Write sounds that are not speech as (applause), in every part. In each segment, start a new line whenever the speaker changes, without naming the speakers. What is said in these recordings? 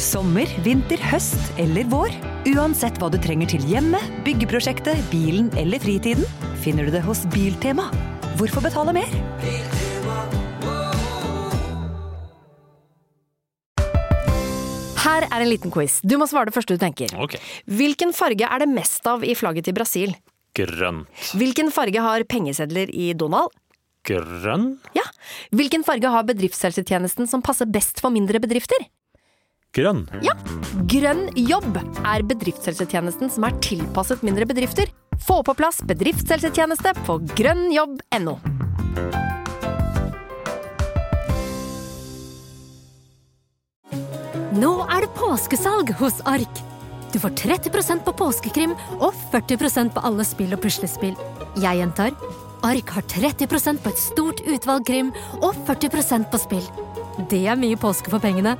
Sommer, vinter, høst eller vår. Uansett hva du trenger til hjemmet, byggeprosjektet, bilen eller fritiden, finner du det hos Biltema. Hvorfor betale mer?
Her er en liten quiz. Du må svare det første du tenker.
Ok.
Hvilken farge er det mest av i flagget til Brasil?
Grønt.
Hvilken farge har pengesedler i Donald?
Grønn.
Ja. Hvilken farge har bedriftshelsetjenesten som passer best for mindre bedrifter?
Grønn.
Ja. Grønn jobb er bedriftshelsetjenesten som er tilpasset mindre bedrifter. Få på plass bedriftshelsetjeneste på grønnjobb.no.
Nå er det påskesalg hos Ark. Du får 30 på påskekrim og 40 på alle spill og puslespill. Jeg gjentar Ark har 30 på et stort utvalg krim og 40 på spill. Det er mye påske for pengene.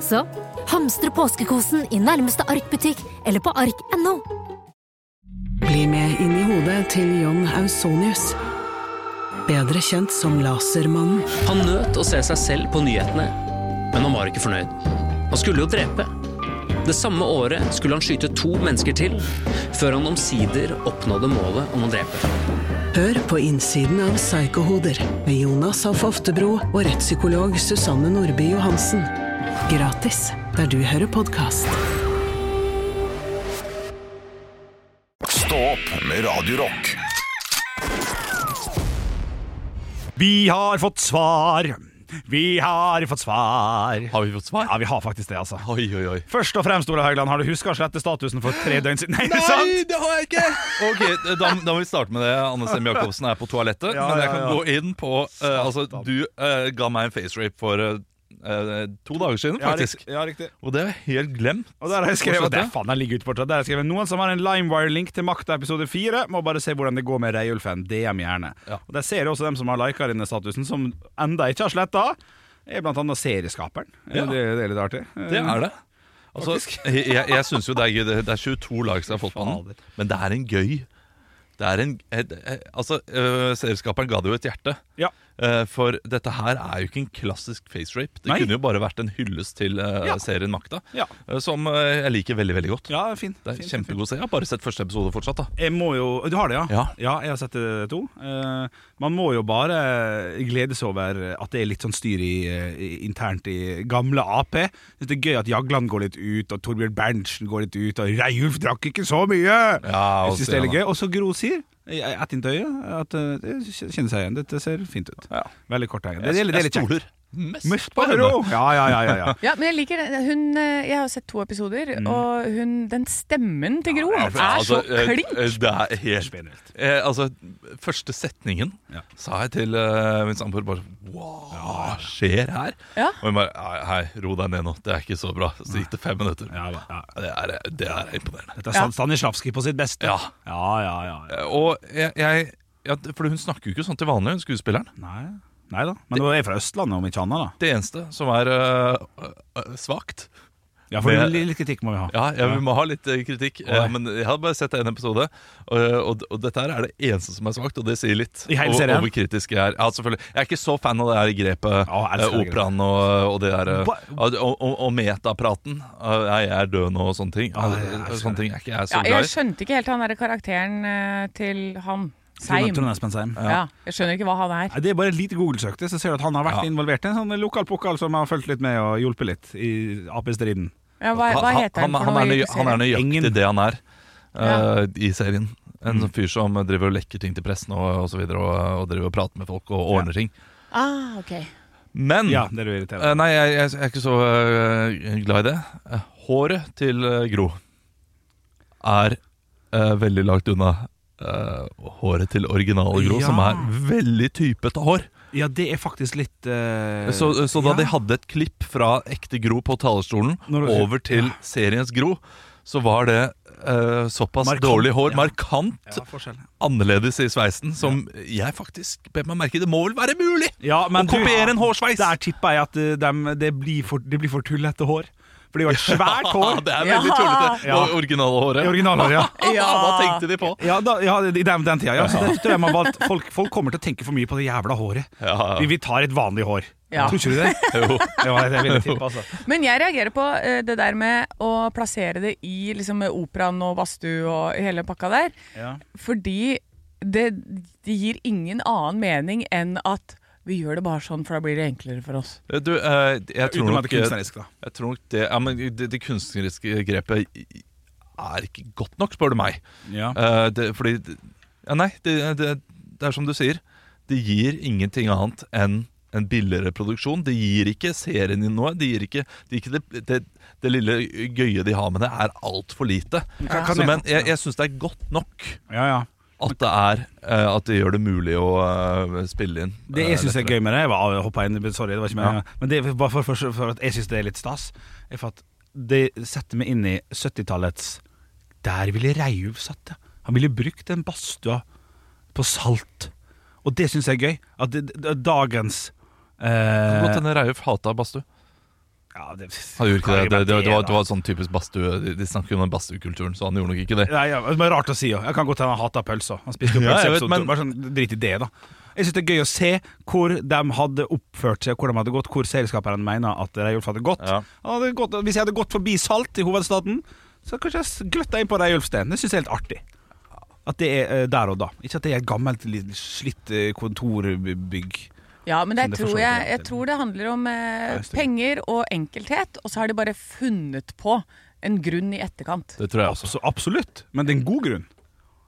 Så hamstre påskekosen i nærmeste Ark-butikk eller på ark.no.
Bli med inn i hodet til John Ausonius. Bedre kjent som Lasermannen.
Han nøt å se seg selv på nyhetene, men han var ikke fornøyd. Han skulle jo drepe. Det samme året skulle han skyte to mennesker til, før han omsider oppnådde målet om å drepe.
Hør på innsiden av Psykohoder med Jonas Alf Oftebro og rettspsykolog Susanne Nordby Johansen. Gratis der du hører podkast.
Stå opp med Radio Rock.
Vi har fått svar. Vi har fått svar.
Har vi fått svar?
Ja, vi har faktisk det, altså.
Oi, oi, oi.
Først og fremst, Ola Haugland, har du huska å slette statusen for tre døgn siden? (laughs) Nei,
Nei,
sant?
det har jeg ikke! Ok, Da, da må vi starte med det. Anne Semme Jacobsen er på toalettet.
Ja,
men jeg kan
ja, ja.
gå inn på eh, Altså, du eh, ga meg en face rape for eh, eh, to dager siden,
Ja,
faktisk.
riktig. Ja, riktig.
Og det har jeg helt glemt.
Og der har jeg skrevet
Fortsett,
det
ja.
er faen, den ligger ute fortsatt. Der har jeg skrevet Noen som har en LimeWire-link til Makta episode 4, må bare se hvordan det går med Reiulfen. DM gjerne.
Ja.
Og Der ser jeg også dem som har lika denne statusen, som enda ikke har sletta. Er blant annet serieskaperen.
Ja.
Det, det er litt artig.
Det er det. Altså, (laughs) jeg jeg, jeg syns jo det er gøy. Det det er 22 lag som har fått
Fader.
banen, men det er en gøy Det er en et, et, Altså, øh, serieskaperen ga det jo et hjerte.
Ja.
Eh, for dette her er jo ikke en klassisk face rape. Det
Nei.
kunne jo bare vært en hyllest til eh,
Ja.
serien Makta,
Ja.
eh, som eh, jeg liker veldig veldig godt.
Ja, fin.
Det er
fin, fin, fin.
kjempegod serie. Jeg har bare sett første episode fortsatt. da
Jeg må jo Du har det, ja?
Ja.
jeg har sett det to. Eh, man må jo bare glede seg over at det er litt sånn styr i, eh, internt i gamle Ap. Jeg synes det er gøy at Jagland går litt ut, og Torbjørn Berntsen går litt ut, og Reiulf drakk ikke så mye!
Ja,
jeg
og
synes det er litt
Stian,
gøy. Og så Gro sier, i- ett inntil øyet, at eh, det kjenner seg igjen. Dette ser fint ut.
Ja.
Veldig kort egn.
Jeg, jeg stoler mest,
Mest på Gro! Ja, ja, ja.
(laughs)
ja, ja.
Ja, men jeg liker det. Hun, eh, jeg har jo sett to episoder, og hun, den stemmen til Gro
Mm. Ja,
er
for- altså,
så
eh,
klink!
eh, Det er helt
Spennvilt.
Eh, altså, første setningen
Ja.
sa jeg til eh, min samboer bare Wow, hva skjer her?
Ja.
Og hun bare «Hei, Hei, ro deg ned nå. Det er ikke så bra. Så gikk det fem minutter.
Ja, da, ja.
Det, er, det er imponerende.
Dette er Stan- Stanislavski på sitt beste.
Ja.
ja, ja. ja, ja.
Eh, Og jeg, jeg ja, For hun snakker jo ikke sånn til vanlig, hun skuespilleren.
Nei. Nei da. Men hun er fra Østlandet, om ikke annet. da
Det eneste som er eh, eh, svakt
Ja, for
Men-
litt, litt kritikk må vi ha.
Ja, ja, vi må ha litt eh, kritikk. eh,
Oi.
Men jeg har bare sett en episode, og, og, og dette her er det eneste som er svakt, og det sier litt.
I hele
og,
serien?
og hvor kritisk jeg er. Ja, selvfølgelig. Jeg er ikke så fan av det her grepet.
Ja, jeg elsker
eh,
det
Operaen og, og det der eh,
Ba-
Og, og, og metapraten. Eh, Jeg er død nå, og sånne ting.
Ja, jeg elsker
Eh, sånne ting er ikke jeg så
Ja, jeg
glad i.
skjønte ikke helt han derre karakteren eh, til han.
Trond-
Seim.
Trond Espen Seim.
Ja, jeg skjønner ikke hva han er.
Nei, Det er bare et lite Google-søkte, så ser du at han har vært
Ja.
involvert i en sånn lokal pokal som har fulgt litt med og hjulpet litt i Ap-striden.
Ja, hva, hva
Han-
heter han,
han,
for
han,
noe?
er
i
nøy, han er
serien?
nøyaktig
Ingen. Mm.
det han er eh, i serien. En sånn fyr som driver og lekker ting til pressen og, og så videre, og, og driver og prater med folk og ordner ting.
Ah, ok.
Men
Ja, det er du irriterende.
Eh, nei, jeg, jeg, jeg er ikke så eh, glad i det. Eh, Håret til eh, Gro er eh, veldig langt unna eh, håret til originale Gro,
Ja.
som er veldig typete hår.
Ja, det er faktisk litt eh,
Så, så da
ja.
de hadde et klipp fra ekte Gro på talerstolen
Når du-
over til seriens Gro, så var det eh, såpass
Markant,
dårlig hår,
ja.
markant
ja, forskjell.
annerledes i sveisen, som jeg faktisk bet meg merke i. Det må vel være mulig
Ja, men
å kopiere en hårsveis!
Der tippa jeg at eh, dem- det blir for, det blir for tullete hår. For det er jo et (laughs) svært hår.
det er veldig tullete.
Ja.
Og Originale håret.
I originaler, (laughs) ja.
Hva tenkte de på?
Ja, da, ja i den, den tida. Ja. Så det tror jeg man valgte folk, folk kommer til å tenke for mye på det jævla håret.
Ja.
Vi, vi tar et vanlig hår.
Ja.
Tror ikke (laughs) du det?
Jo.
Det var det jeg ville tippe, altså.
Men jeg reagerer på eh, det der med å plassere det i liksom, operaen og badstue og hele pakka der.
Ja.
Fordi det, det gir ingen annen mening enn at vi gjør det bare sånn, for da blir det enklere for oss.
Du, eh, jeg tror
Utenom at
nok eh,
det er kunstnerisk, da.
Jeg tror nok det, ja, men det, det kunstneriske grepet i- er ikke godt nok, spør du meg.
Ja.
Eh, det, fordi det- ja, Nei, det, det, det er som du sier. Det gir ingenting annet enn en billigere produksjon. Det gir ikke serien din noe. Det, gir ikke, det, gir ikke det, det, det lille gøye de har med det, er altfor lite.
Kan- kan
Så,
jeg-
men jeg, jeg syns det er godt nok
Ja, ja.
at det er eh, At det gjør det mulig å eh, spille inn.
Det jeg syns er gøy med det Jeg var hoppet inn, sorry, det var ikke meningen. Men det er bare for, for, for at jeg syns det er litt stas. Er for at det setter meg inn i 70-tallets Der ville Reiulf satt det. Han ville brukt den badstua på salt. Og det syns jeg er gøy. At det, det, dagens eh,
Godt hende Reiulf hata badstue.
ja, det,
Han gjorde ikke det. Det, det, det, var, det
da.
var sånn typisk badstue De, de snakker jo om den badstuekulturen, så han gjorde nok ikke det.
Nei, ja, det er rart å si òg. Jeg kan godt hende han hata pølser. Han spiste jo
Ja,
pølser.
jeg vet,
episode
men-
to. Bare sånn, drit i det, da. Jeg syns det er gøy å se hvor de hadde oppført seg, hvor de hadde gått, hvor serieskaperne mener at Reiulf hadde gått.
Ja.
Han hadde gått. Hvis jeg hadde gått forbi Salt i hovedstaden, så kanskje jeg gløtta inn på Reiulf Steen. Det syns jeg er litt artig. At det er eh, der og da. Ikke at det er et gammelt, litt slitt eh, kontorbygg.
Ja, men
Som
jeg
det for så
tror,
vidt
jeg,
er
jeg
til.
tror det handler om eh,
jeg støtter.
penger og enkelthet, og så har de bare funnet på en grunn i etterkant.
Det tror jeg også.
Så absolutt. Men det er en god grunn.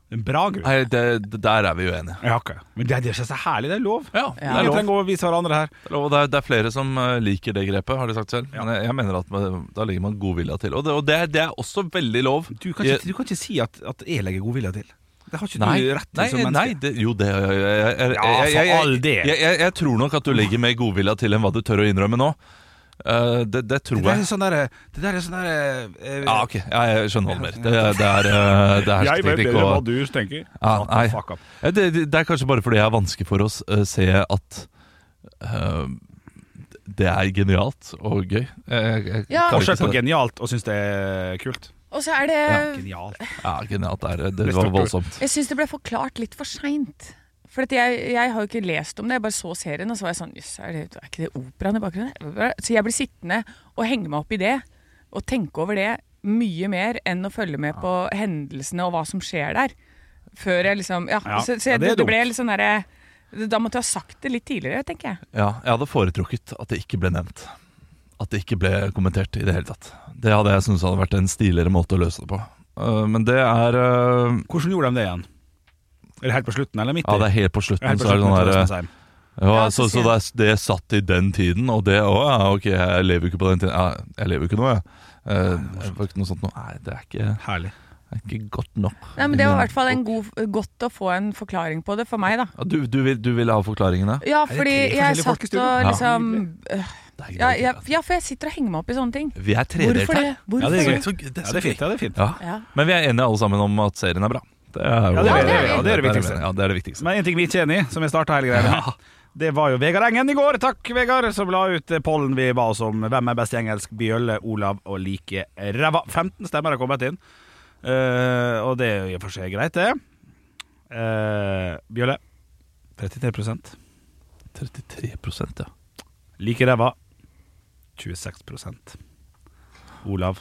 En bra grunn.
Nei, det, det, der er vi uenige.
Ja, ok. Men det, det er ikke så herlig. Det er lov.
Ja, det
Ja.
er
Vi
lov.
trenger å vise hverandre her.
Det er lov, og Det er, det er flere som eh, liker det grepet, har de sagt selv. Men jeg, jeg mener at man, da legger man godvilja til. Og det, og det, er- det er også veldig lov.
Du kan
Jeg-
ikke, du kan ikke si at, at jeg legger godvilje til. Det har ikke
Nei,
du rett til
nei, eh,
som menneske.
nei det, jo det jeg, jeg, jeg, jeg,
Ja, for
jeg, jeg, jeg,
all del.
jeg, jeg, jeg tror nok at du legger mer godvilja til enn hva du tør å innrømme nå. Eh, det, det tror
Det der er
jeg.
sånn derre Det der er sånn derre eh,
Ja, ok, ja, jeg skjønner hva du mener. Det, det er, eh, det er hersketeknikk og
du tenker.
Ja,
Shut the
nei.
fuck up.
Ja, det, det det er kanskje bare fordi jeg er vanskelig for oss å se at eh, det er genialt og gøy. Jeg, jeg,
Ja.
klarer eh, ikke
Forskjell på
å se det.
genialt og syns det er kult.
Og så er det
Eh, Genialt.
Ja, genialt er det. Det
Det
var
stopper.
voldsomt.
Jeg syns det ble forklart litt for seint. For at jeg, jeg har jo ikke lest om det, jeg bare så serien og så var jeg sånn Jøss, er, det- er ikke det operaen i bakgrunnen? Så jeg blir sittende og henge meg opp i det, og tenke over det mye mer enn å følge med på hendelsene og hva som skjer der. Før jeg liksom Ja,
Ja,
så, så
ja,
jeg,
det er
det, ble
dumt.
litt sånn derre Da måtte jeg ha sagt det litt tidligere, tenker jeg.
Ja, jeg hadde foretrukket at det ikke ble nevnt. At det ikke ble kommentert i det hele tatt. Det hadde jeg syntes hadde vært en stiligere måte å løse det på. Eh, men det er eh,
Hvordan gjorde de det igjen? Eller helt på slutten, eller midt i?
Ja, det er helt på
Ja,
slutten,
helt på
så er det
slutten, jeg tror
sånn der
det er
eh,
Svendsheim.
Ja,
Ja,
så,
så
så det, er- det satt i den tiden, og det òg ja, Ok, jeg lever jo ikke på den tiden. Ja, jeg lever jo ikke nå, jeg. Eh, det var ikke noe sånt nå. Nei, det er ikke,
Herlig.
det er ikke godt nok.
Nei, men Det var i hvert fall en god, godt å få en forklaring på det for meg, da.
Ja, du, du, vil, du ville ha forklaringene?
Ja,
det
fordi
tre
jeg
forskjellige
satt
folk i studio?
og
Ja.
liksom
Det er
ja,
greit,
ja,
altså.
ja, for jeg sitter og henger meg opp i sånne ting.
Vi er tredelt
Hvorfor det? Hvorfor
Ja, det er
det?
gøy.
Så, det er
Ja,
så
det er fint.
fint.
Ja, det er fint.
Ja.
Ja.
Men vi er enige alle sammen om at serien er bra. Det er, jo-
Ja, det
er vi. Ja, det er vi.
Ja, det er det viktigste.
Ja, det er det viktigste.
Men en ting vi ikke er enig i, som jeg starta hele greia med, (laughs) det var jo Vegard Engen i går. Takk, Vegard, som la ut pollen vi ba oss om. Hvem er best i engelsk? Bjølle, Olav og like ræva. 15 stemmer har kommet inn, Eh, og det er jo i og for seg greit, det. Eh, Bjølle 33
33 ja.
Like ræva 26 Olav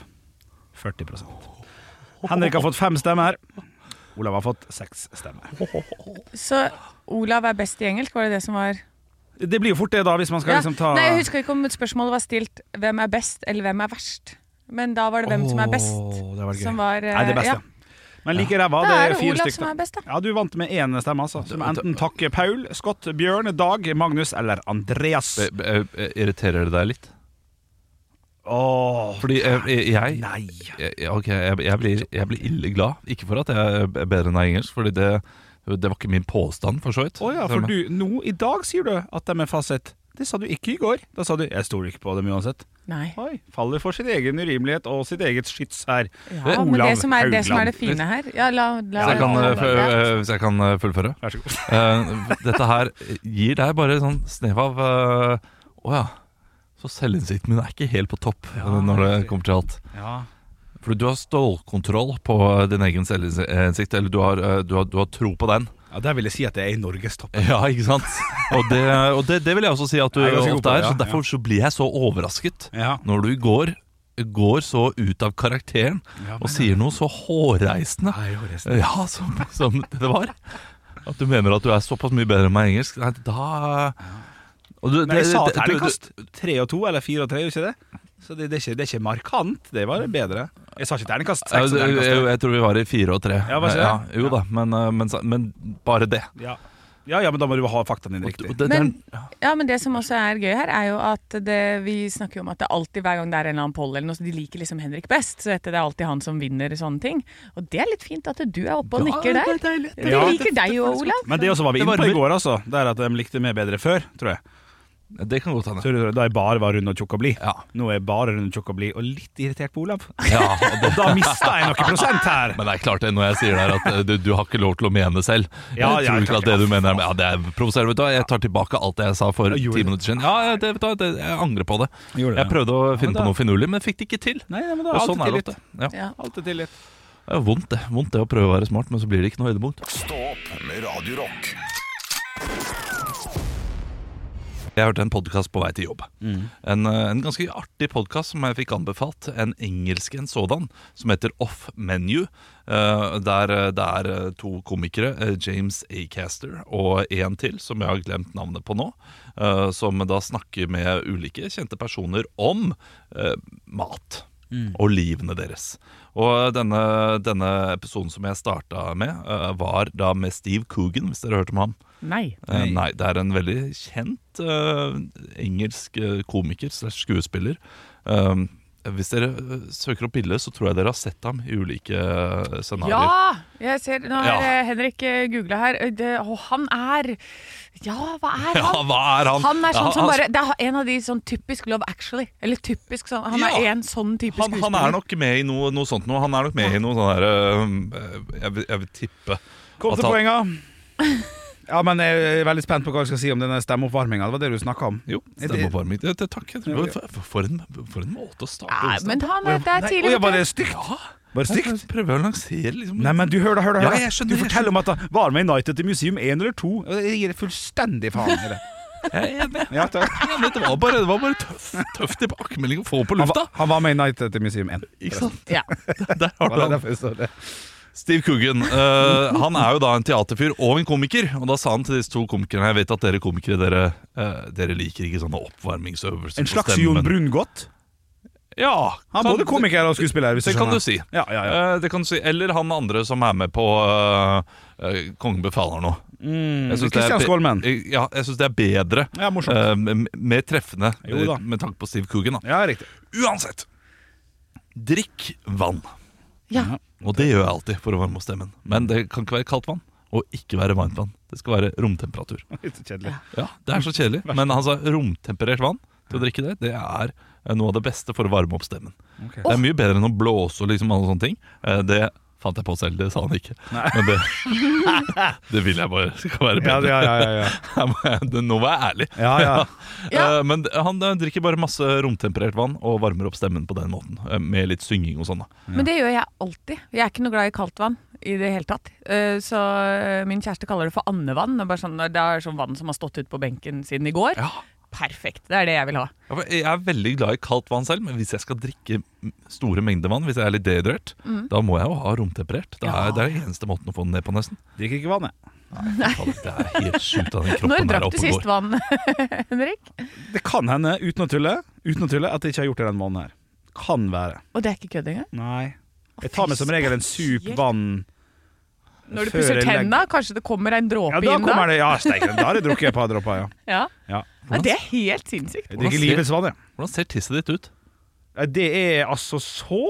40 Henrik har fått fem stemmer. Olav har fått seks stemmer.
Så Olav er best i engelsk, var det det som var
Det blir jo fort det, da, hvis man skal
Ja.
liksom ta
Nei, Jeg husker ikke om spørsmålet var stilt 'Hvem er best?' eller 'Hvem er verst?' Men da var det 'Hvem som er best?'
Åh, det var gøy.
som var eh,
Nei, det beste.
ja.
Men like ræva,
Da
det
er
er
det
fire
Olav
stykker.
som er best, da.
Ja, du vant med én stemme, altså. Som enten takker Paul, Scott, Bjørn, Dag, Magnus eller Andreas.
Eh, eh, eh, Irriterer det deg litt?
Åh,
Fordi eh, eh, jeg
Ah, nei.
jeg- jeg- Ok, jeg, jeg, blir, jeg blir ille glad. Ikke for at jeg er bedre enn deg i engelsk, Fordi det, det var ikke min påstand, for så vidt.
Å ja, for du, nå i dag sier du at de er fasit. Det sa du ikke i går. Da sa du 'jeg stoler ikke på dem uansett'.
Nei.
Oi, faller for sin egen urimelighet og sitt eget skyts her.
Ja, men
Olav
det som, er, det som er det
Haugland.
fine her ja, la, la,
Hvis jeg kan, eh,
la-
f- eh, hvis jeg kan eh, fullføre?
Vær så god.
Eh, dette her gir deg bare sånn snev av eh, Å ja, så selvinnsikten min er ikke helt på topp eh, når det kommer til alt.
Ja.
For eh, du har stålkontroll på din egen selvinnsikt, eller du har, eh, du har, du har tro på den.
Ja, Der vil jeg si at jeg er i norgestoppen.
Ja, ikke sant? Og det, og det, det vil jeg også si at du
Jeg er ganske god på
ofte
det,
er.
ja,
Så derfor så blir jeg så overrasket
Ja.
når du går, går så ut av karakteren
Ja,
og sier noe så hårreisende
Nei, jo, resten.
ja, som, som det var. At du mener at du er såpass mye bedre enn meg i engelsk. Nei, da og du,
Men jeg
det-
sa
det- du-
terningkast tre og to, eller fire og tre, gjorde jeg ikke det? Så det, det, er ikke, det er ikke markant, det var bedre. Jeg sa ikke terningkast
Ja,
seks. og
det-
terningkast
jeg,
tre.
jeg tror vi var i fire og tre.
Ja, var ikke det?
jo da, men, eh, men, sa- men bare det.
Ja. ja, ja, men da må du ha faktaene dine riktig.
Og det- det er-
Men- Ja, men det som også er gøy her, er jo at det, vi snakker jo om at det alltid, hver gang det er en eller annen poll eller noe, så de liker liksom Henrik best, så dette, det er alltid han som vinner sånne ting. Og det er litt fint at du er oppe og nikker der. Vi
Ja, det-
liker deg jo, Olav.
Men det også var vi
Det
inne på i
varmer.
går, altså. Det er at de likte meg bedre før, tror jeg.
det kan godt hende.
Så Da jeg bare var rund og tjukk og blid.
Ja.
Nå er jeg bare rund og tjukk og blid, og litt irritert på Olav.
Ja, og det,
Da mista jeg noen prosent her!
men det er klart det når jeg sier det her at eh, du, du har ikke lov til å mene selv. Jeg
Ja, ja,
tror ikke
klart,
at det
ja,
du mener er- Ja, det er provoserende. vet du hva. Jeg tar tilbake alt det jeg sa for
Ja, gjorde
ti
det.
minutter siden. Ja, ja, det, vet du hva, det, Jeg angrer på det.
Gjorde det,
Jeg prøvde å finne
da-
på noe finurlig, men fikk det ikke til.
Nei, nei, men da
Og
er
sånn
alltid
er det
tillit.
ofte. Ja.
Ja.
Alltid tillit.
Det er vondt det. vondt det å prøve å være smart, men så blir det ikke noe høydepunkt.
Stå opp med Radio Rock.
Jeg hørte en podkast på vei til jobb. En, eh, en ganske artig podkast som jeg fikk anbefalt. En engelsk en sådan, som heter Off Menu. eh, Der eh, det er eh, to komikere, eh, James Acaster og en til, som jeg har glemt navnet på nå. eh, Som da snakker med ulike kjente personer om eh, mat. Og livene deres. Og eh, denne, denne episoden som jeg starta med, eh, var da med Steve Coogan, hvis dere hørte om ham.
Nei.
Eh, Nei, det er en veldig kjent eh, engelsk eh, komiker slash skuespiller. Um, hvis dere eh, søker opp bildet, så tror jeg dere har sett ham i ulike eh, scenarioer.
Ja! Jeg ser, nå har
Ja.
eh, Henrik eh, googlet her. Eh, Det, og han er Ja, hva er han?
hva er han?
Han er sånn
Ja,
som
han-
bare Det er en av de sånn typisk Love Actually. Eller typisk sånn Han
Ja.
er en sånn type
han, han
skuespiller.
er nok med i noe, noe sånt noe. Han er nok med i noe sånn derre jeg, vil- jeg vil tippe
Kom
At
til
han-
poenga. (laughs) Ja, men jeg er veldig spent på hva du skal si om denne stemmeoppvarminga. Det var det du snakka om.
Jo, stemmeoppvarming. Det- det- Takk. Jeg tror, for, for, en, for en måte å starte
Nei, men han er, det er
Nei,
tidlig.
å, ja, var det stygt? Var det stygt?
Jeg prøver å lansere liksom
Nei, men du hør da, hør da, hør
Ja,
da.
jeg skjønner,
Du
jeg
forteller om at han var med i Night at the Museum 1 eller 2 Jeg gir fullstendig faen i det
Jeg er enig.
ja, takk.
Ja, men det var bare, det var bare tøff, tøff tilbakemelding å få på
han, var,
lufta.
han var med i Night at the Museum 1
Ikke sant?
Ja.
(laughs) Der har du
Var det
han.
derfor jeg så det?
Steve
(laughs)
Coogan eh, han er jo da en teaterfyr og en komiker. Og da sa han til disse to komikerne Jeg vet at dere komikere dere, eh, dere liker ikke sånne oppvarmingsøvelser.
En
på
slags
stemmen.»
Jon Brungot
Ja,
Han er
kan-
både komiker og skuespiller hvis
Det kan
skjønner.
du si.
Ja, ja, ja
Eh, det kan du si. Eller han andre som er med på eh, eh, Kongen befaler nå. Mm. Jeg synes det er
Kristian
be- eh,
Skålmen
Ja, jeg syns det er bedre.
Mm, Ja, morsomt
eh, m- mer treffende
Jo da.
eh, med tanke på Steve Coogan. Da.
Ja, riktig (laughs)
Uansett, drikk vann.
Ja.
Og det gjør jeg alltid for å varme opp stemmen. Men det kan ikke være kaldt vann, og ikke være varmt vann. Det skal være romtemperatur.
Litt kjedelig
Ja, Det er så kjedelig. Men han sa romtemperert vann til å drikke det, det er eh, noe av det beste for å varme opp stemmen.
Ok.
Det er mye bedre enn å blåse og liksom alle sånne ting. Eh, Det fant jeg på selv, det sa han ikke. Men det, det (laughs) vil jeg bare skal være
Ja,
bedre.
ja, ja, ja, ja.
Her må (laughs) jeg- det- Nå var jeg ærlig.
Ja, ja.
Ja.
(laughs) Eh, Men han eh, drikker bare masse romtemperert vann og varmer opp stemmen på den måten. eh, Med litt synging og sånn. da.
Men det gjør jeg alltid. Jeg er ikke noe glad i kaldt vann i det hele tatt. Eh, Så eh, min kjæreste kaller det for andevann. Det er, bare sånn, det er sånn vann som har stått ute på benken siden i går.
Ja.
Perfekt. Det er det jeg vil ha.
Ja, for Jeg er veldig glad i kaldt vann selv, men hvis jeg skal drikke m- store mengder vann, hvis jeg er litt dehydrert, da må jeg jo ha romtemperert. Det er,
Mm. Ja.
det er den eneste måten å få den ned på,
(laughs)
nesten.
Drikker ikke vann, jeg
Faen, Det er helt sjukt at den
Når
kroppen der
drakk du
oppe
sist
går.
vann, (laughs) Henrik?
Det kan hende, uten å tulle Uten å tulle, at jeg ikke har gjort det den måneden her Kan være
Og det er ikke kødd engang?
Nei Jeg tar meg som regel en sup vann
Når du
Før
pusser
jeg legger-
tenna, kanskje det kommer en dråpe
Ja, da
inn da?
kommer det Ja, steiken, da har jeg drukket et par dropper,
(laughs)
ja
Ja.
Ja.
Nei, det er helt sinnssykt.
Jeg drikker livets vann, jeg
Hvordan ser tisset ditt ut?
Nei, Det er altså så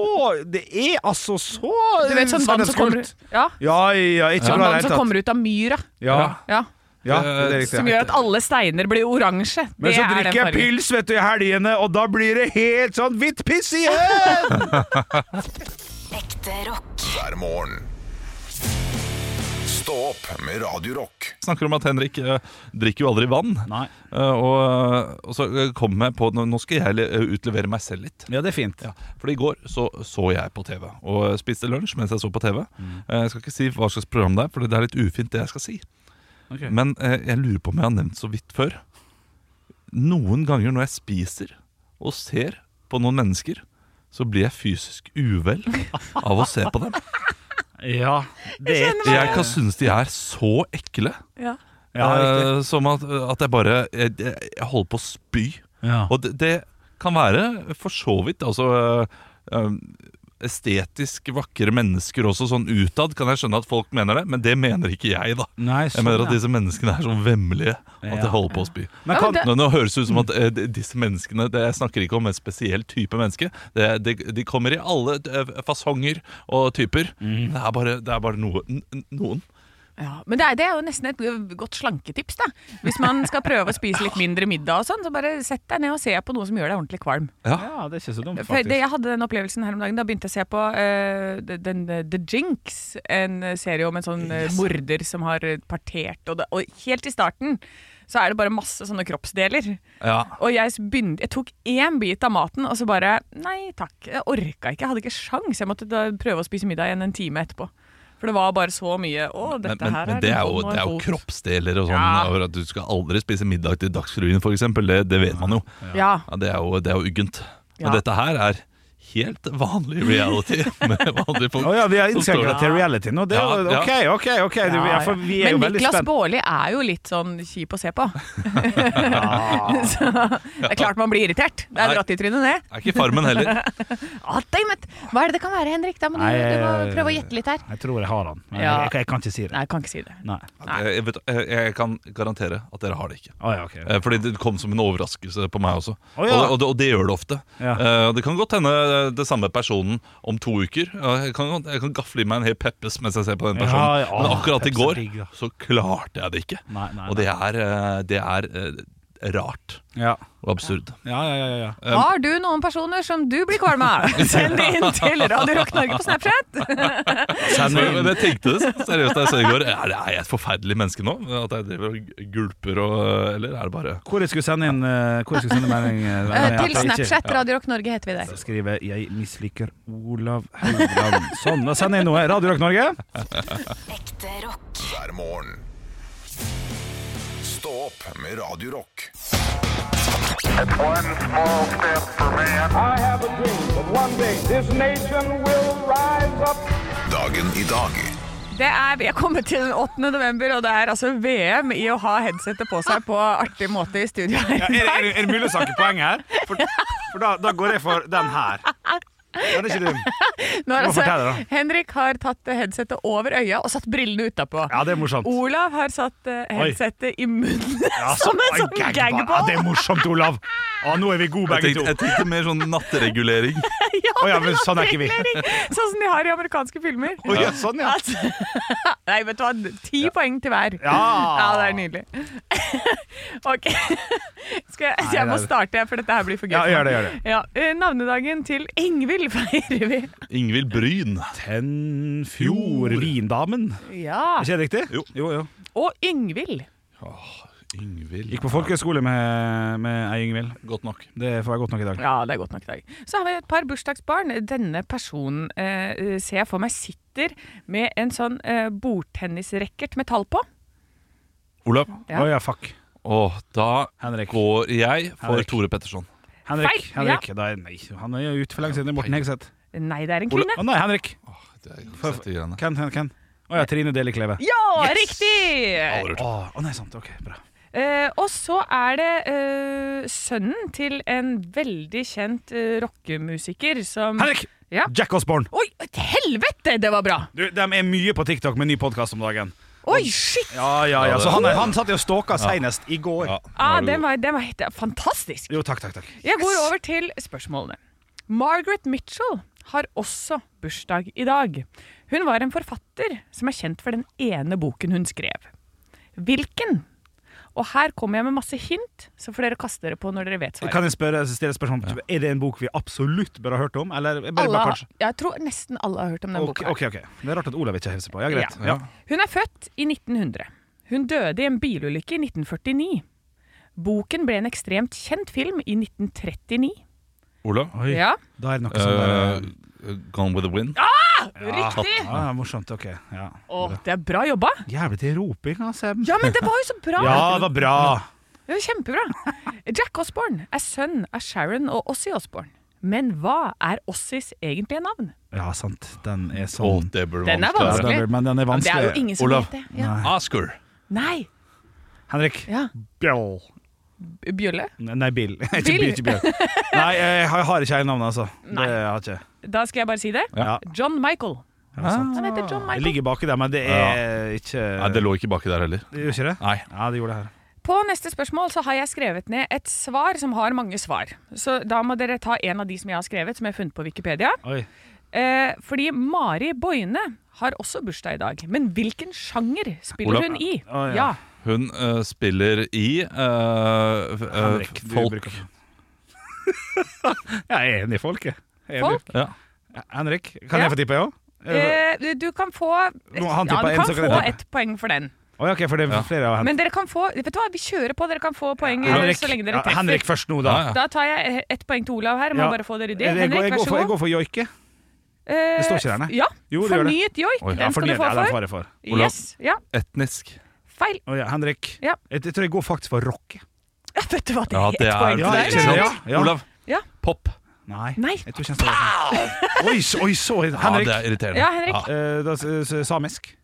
Det er altså så
Du vet sånn vann som kommer,
Sannhetskult.
ja,
Ja, ja, ikke
sånn
bra i
vann
det hele
som
tatt.
kommer ut av myra.
Ja,
Ja,
ja, det er riktig.
som gjør at alle steiner blir oransje.
Men
Det
så
er den
drikker jeg
fargen.
pils vet du, i helgene, og da blir det helt sånn hvitt piss igjen!
hver morgen. Stå opp med Radio Rock.
Snakker om at Henrik eh, drikker jo aldri vann.
(laughs) Nei.
Eh, og, og så eh, kom jeg på nå- Nå skal jeg le- eh, utlevere meg selv litt.
Ja, det er fint.
Ja, for i går så, så jeg på TV og spiste lunsj mens jeg så på TV.
Mm.
Eh, Jeg skal ikke si hva slags program det er, for det er litt ufint det jeg skal si.
Ok.
Men eh, jeg lurer på om jeg har nevnt så vidt før. Noen ganger når jeg spiser og ser på noen mennesker, så blir jeg fysisk uvel av å se på dem.
Ja, det er
Jeg kan synes de er så ekle.
Ja.
Ja, riktig.
eh, som at, at jeg bare jeg, jeg jeg holder på å spy.
Ja.
Og det, det kan være for så vidt altså, eh, eh, estetisk vakre mennesker også, sånn utad kan jeg skjønne at folk mener det, men det mener ikke jeg, da.
Nei, sånn,
Jeg mener at
ja.
disse menneskene er så vemmelige at
Ja.
jeg holder på å spy.
Men kan,
Ja,
Nå, nå høres det ut som at eh, de- disse menneskene det, Jeg snakker ikke om en spesiell type menneske. Det, det, de kommer i alle eh, fasonger og typer.
Mm.
Det er bare, det er bare noe, n- n- noen.
Ja, men det er, det er jo nesten et godt slanketips, da. Hvis man skal prøve å spise litt mindre middag og sånn, så bare sett deg ned og se på noe som gjør deg ordentlig kvalm.
ja, det er ikke så dumt,
For
faktisk.
det, jeg hadde den opplevelsen her om dagen. Da begynte jeg å se på eh, den, eh, The Jinx, en eh, serie om en sånn eh, morder som har eh, partert. Og, det, og helt i starten så er det bare masse sånne kroppsdeler.
Ja.
Og jeg, s- begynte, jeg tok én bit av maten, og så bare Nei takk, jeg orka ikke. Jeg hadde ikke sjans. Jeg måtte da prøve å spise middag igjen en time etterpå. For det var bare så mye Å,
Men,
dette
men,
her
men
er
det
en
er jo,
hånd og en
det er jo
fot.»
kroppsdeler og sånn.
Ja.
over At du skal aldri spise middag til Dagsrevyen, f.eks. Det, det vet man jo.
Ja.
Ja, det, er jo det er jo uggent. Men
Ja.
dette her er helt vanlig
(laughs)
reality med vanlige folk.
Å ja, vi har
som står
innskrevet
der.
til reality nå. Det er jo,
Ja,
ok, ok, ok. Du, ja, for vi er
Men
jo veldig
Niklas
spent.
Baarli er jo litt sånn kjip å se på. (laughs) så det er klart man blir irritert. Det
Nei.
er dratt i trynet, det.
Er ikke Farmen heller.
Ah, damn it! Hva er det det kan være, Henrik? Da må du,
Nei,
du må
eh,
prøve å gjette litt her.
Jeg tror jeg har han, men
Ja.
jeg, jeg kan ikke si det.
Nei, jeg kan ikke si det.
(laughs) Nei.
Jeg, jeg, Eh, vet, jeg, jeg kan garantere at dere har det ikke.
Å ja, ok.
Eh, Fordi det kom som en overraskelse på meg også.
Å, ja.
og, og, det, og det gjør det ofte.
Ja.
Eh, og det kan godt hende eh, det samme personen om to uker. Ja, Jeg kan, godt- jeg kan gafle i meg en hel Peppes mens jeg ser på den personen.
Ja, ja,
Men akkurat i
Peppes er
går
digg, da.
så klarte jeg det ikke.
Nei, nei,
Og det er, eh, det er eh, rart
Ja.
og absurd.
Ja, ja, ja, ja.
Um,
Har du noen personer som du blir kvalm
(laughs)
av? Send det inn til Radio Rock Norge på Snapchat!
Men, men jeg tenkte det seriøst da jeg så i går. Er, er jeg et forferdelig menneske nå? At jeg driver og gulper og Eller er det bare
Hvor jeg skulle sende inn eh, Hvor jeg skulle sende melding eh,
Eh,
at jeg
Til
ikke-
Snapchat Radio Rock Norge heter vi
Så
der.
skriver jeg 'Jeg misliker Olav Haugland'. Sånn, da sender jeg noe. Radio Rock Norge.
Ekte rock.
hver morgen. Stå opp med Radio Rock.
I have a dream that one day this nation will rise up.
Dagen i dag
Det er, vi er kommet til den 8. november, og det er altså VM i å ha headsetet på seg på artig måte i studio. her.
er, det, mulig å snakke poeng her? For, da, går jeg for den her. Den er ikke dum.
Nå har
Hva
altså,
forteller
Henrik har tatt eh, headsetet over øya og satt brillene utapå.
Ja, det er morsomt.
Olav har satt eh,
Oi.
headsetet i munnen (laughs)
Ja,
som en
ah,
sånn
gag- Ja,
gagball.
det er morsomt, Olav. Ja, nå er vi gode
Jeg
begge to.
tenkte, jeg tenkte mer sånn
(laughs)
nattregulering.
(laughs) Ja,
Å ja, men
det var
sånn er ikke vi.
prikkelering, (laughs) Sånn som de har i amerikanske filmer.
Å ja, sånn, ja.
Altså, (laughs) nei, vet du hva. Ti poeng til hver. Ja, det er nydelig. (laughs) ok. Skal jeg, jeg må
det er-
starte, for dette her blir for gøy.
Ja,
for
gjør
meg.
det, gjør det.
Ja, eh, navnedagen til Ingvild (laughs) feirer vi.
Ingvild Bryn.
Tenfjord Vindamen.
Ja.
Er ikke det riktig?
Jo.
jo,
Og Yngvild.
Ingvild
Gikk på folkehøyskole med, med ei Yngvild.
Godt nok.
Det får være godt nok i dag.
Ja, det er godt nok i dag. Så har vi et par bursdagsbarn. Denne personen eh, ser jeg for meg sitter med en sånn eh, bordtennisracket med tall på.
Olav.
Ja.
Å ja, fuck.
Og da
Henrik.
går jeg for
Henrik.
Tore Petterson.
Henrik.
Feil,
Henrik. Da er, nei, han er jo ute for lenge siden. Det er Morten Hegseth.
Nei, det er en
Å
kvinne.
nei, Henrik.
Det er
For-
sette greiene.
Ken, Ken, Ken. Å ja, Trine Deli Kleve.
Ja, riktig!
Aldri hørt.
Å å nei, sant. Ok, bra.
Eh, og så er det eh, sønnen til en veldig kjent eh, rockemusiker som
Henrik!
Mm. Ja.
Jack Osborne.
Oi, et helvete! Det var bra!
Du, de er mye på TikTok med ny podkast om dagen.
Oi, shit!
Ja, ja, ja. Så han, er- han satt jo og stalka senest i går.
Ja,
Ah,
nå er
den
du
var, den var helt ja, fantastisk.
Jo, takk, takk, takk.
Jeg går over til spørsmålene. Margaret Mitchell har også bursdag i dag. Hun var en forfatter som er kjent for den ene boken hun skrev. Hvilken? Og her kommer jeg med masse hint, så får dere kaste dere på når dere vet svaret.
Kan jeg spørre, stille spørsmål om, Er det en bok vi absolutt bør ha hørt om? Eller bare,
Alle,
bare
har-
kanskje?
jeg tror nesten alle har hørt om den
Ok,
boka. her.
ok, ok. Det er rart at Olav ikke hever seg på. Ja, greit. Ja.
Hun er født i 1900. Hun døde i en bilulykke i 1949. Boken ble en ekstremt kjent film i 1939.
Olav?
Oi,
Ja,
da er det noe sånn der,
Eh, Gone with the wind?
riktig!
ja, Morsomt. Ok. Ja.
Å, det er bra jobba!
Jævlig til roping, altså.
Ja, men det var jo så bra!
Ja, det var bra.
Det var kjempebra. Jack Osborne er sønn av Sharon og Ossie Osborne. Men hva er Ossies egentlige navn?
Ja, sant. Den er
Å,
sånn.
det burde
Den er
Ja,
vanskeligere.
vanskelig.
den er- men den er
Men det er jo
vanskelig.
ingen som
Olav.
vet det. Ja.
Oscar.
Nei!
Henrik.
Ja.
Bjøll.
B- Bjølle?
Nei, Bill. (laughs) ikke,
Bill.
Bill. ikke Bjøll. Nei, jeg har- jeg har ikke hele navnet, altså.
Nei.
Det har jeg ikke.
Da skal jeg bare si det.
Ja.
John Michael.
Ja, sant.
Han heter John
Det
Michael.
ligger baki der, men det er ikke
Nei, det lå ikke baki der heller.
Det gjør ikke det?
Nei.
Ja, det gjorde det her.
På neste spørsmål så har jeg skrevet ned et svar som har mange svar. Så da må dere ta en av de som jeg har skrevet, som jeg har funnet på Wikipedia.
Oi.
Eh, fordi Mari Boine har også bursdag i dag. Men hvilken sjanger spiller
Olav.
hun i?
Å, ja.
ja.
Hun eh, spiller i eh, f- eh,
Henrik, du
folk
bruker- jeg er enig i folket. Jeg er enig.
Folk?
Ja.
Henrik, kan
Ja.
jeg få tippe, jeg òg?
Eh, du kan få
Nå, han
ja,
tippet
du
en,
kan
så kan jeg
få
tippe.
ett poeng for den.
Oi, ok, for det
Ja.
er flere av henne.
Men dere kan få Vet du hva, vi kjører på. Dere kan få poeng
Henrik,
så lenge dere
ja,
treffer.
Henrik først nå, da.
Ja, ja.
Da tar jeg ett poeng til Olav her. Må
Ja. Eh,
bare få det ryddig.
Jeg, jeg, går, jeg,
Henrik, vær
går
så
for, jeg
god.
går for joike.
Eh,
Det står ikke der, nei.
Ja.
Jo, det gjør det.
Fornyet joik.
Oi,
Den
Ja,
skal du
fornyet.
få
Ja, den
for.
får jeg for.
Olav.
Yes. Ja.
etnisk.
Feil.
Å, ja, Henrik,
Ja.
jeg, jeg tror jeg går faktisk for rock.
Ja, vet du hva, det
Ja,
er
det
ett
er
poeng
Ja,
til
ikke
deg.
sant?
Ja.
ja, ja.
Olav.
Ja.
Pop.
Nei.
Nei.
Jeg tror ikke jeg står Oi, så- oi, så Henrik.
Ja, det er irriterende.
Ja, Henrik.
Eh, da, s- s- samisk.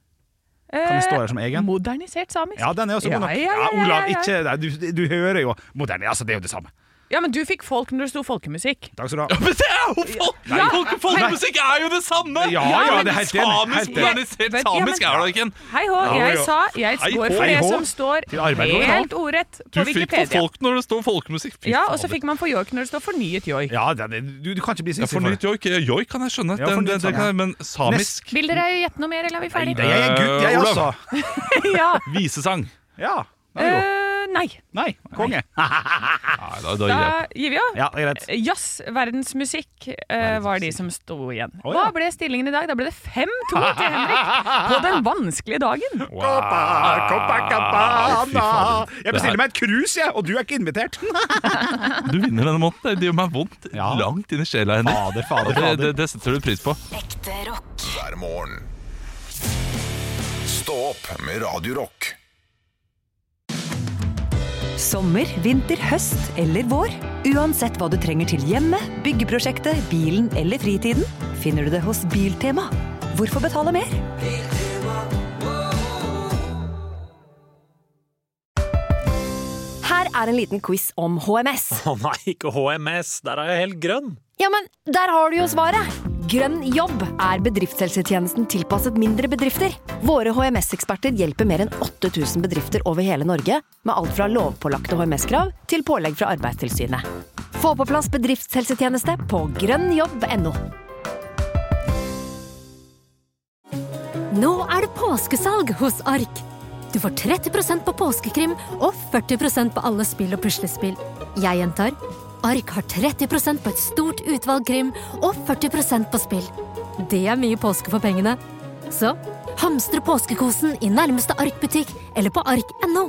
Kan jeg stå her som egen?
Eh, Modernisert samisk.
Ja, den er også god nok.
Ja, ja, ja,
Ja, Olav,
ja, ja.
ikke nei, du, du hører jo. Moderne, altså, det er jo det samme.
Ja, men du fikk folk når det sto folkemusikk.
Takk skal du ha.
Men det er jo folk!
Nei.
folk- Folkemusikk er jo det samme!
(laughs) Ja, ja, det er helt enig, helt
Samisk,
enig.
modernisert
Vet- ja, men-
samisk er da ikke en
Hei hå,
Ja,
jeg
ja.
sa jeg
Hei
går
hå.
for
Hei
det
hå.
som står
Til arbeid går det
helt ordrett
Du
på
fikk for
Wikipedia.
folk når det står folkemusikk. Fy
Ja, og så
fader.
fikk man for joik når det står fornyet joik.
Ja, den er, du, du kan ikke bli
ja,
sissy for det.
Fornyet joik. eh, Joik kan jeg skjønne,
Ja,
den,
fornyet
den, den
samisk.
kan jeg, men samisk
Vil dere gjette noe mer, eller er vi ferdige?
Jeg er gutt, jeg
Eh, Olav.
også.
Ja.
Visesang.
Ja. Nei, jo.
Eh, nei.
Nei, konge.
Nei, da, da gir jeg
Da gir vi opp.
Ja, (laughs) greit.
Jazz, verdensmusikk, eh, var de som sto igjen.
Å,
Hva
ja.
ble stillingen i dag? Da ble det 5-2 til Henrik på den vanskelige dagen.
Copa, Copacabana.
Fy fader.
Jeg bestiller meg et cruise, jeg, og du er ikke invitert.
Du vinner denne måneden. Det gjør meg vondt
Ja.
langt inn i sjela
(laughs)
hennes.
Fader, fader,
det,
fader.
det, det setter du pris på.
Ekte rock.
hver morgen. Stå opp med Radio Rock.
Sommer, vinter, høst eller vår. Uansett hva du trenger til hjemme, byggeprosjektet, bilen eller fritiden, finner du det hos Biltema. Hvorfor betale mer?
Her er en liten quiz om HMS.
Å nei, ikke HMS. Der er jeg helt grønn.
Ja, men der har du jo svaret! Grønn jobb er bedriftshelsetjenesten tilpasset mindre bedrifter. Våre HMS-eksperter hjelper mer enn 8000 bedrifter over hele Norge med alt fra lovpålagte HMS-krav til pålegg fra Arbeidstilsynet. Få på plass bedriftshelsetjeneste på grønnjobb.no.
Nå er det påskesalg hos Ark. Du får 30 på påskekrim og 40 på alle spill og puslespill. Jeg gjentar. Ark har 30 på et stort utvalg krim og 40 på spill. Det er mye påske for pengene. Så hamstre påskekosen i nærmeste Ark-butikk eller på ark.no.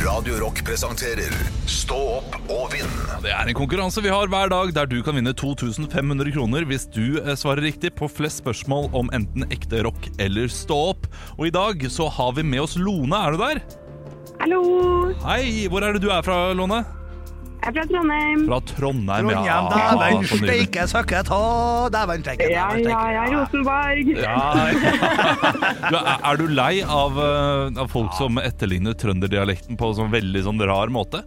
Radio Rock presenterer Stå opp og vinn
Det er en konkurranse vi har hver dag der du kan vinne 2500 kroner hvis du eh, svarer riktig på flest spørsmål om enten ekte rock eller stå opp. Og i dag så har vi med oss Lone. Er du der?
Hallo,
Hei! Hvor er det du er fra, Lone?
jeg er fra Trondheim.
Fra Trondheim,
Trondheim,
ja. Ah,
dæven
så nydelig.
steike søkket, å, dæven steike,
Ja,
dæven
ja,
steike.
jeg er Rosenborg.
(laughs) Du, er, er du lei av, eh, av folk som etterligner trønderdialekten på en sånn veldig sånn rar måte?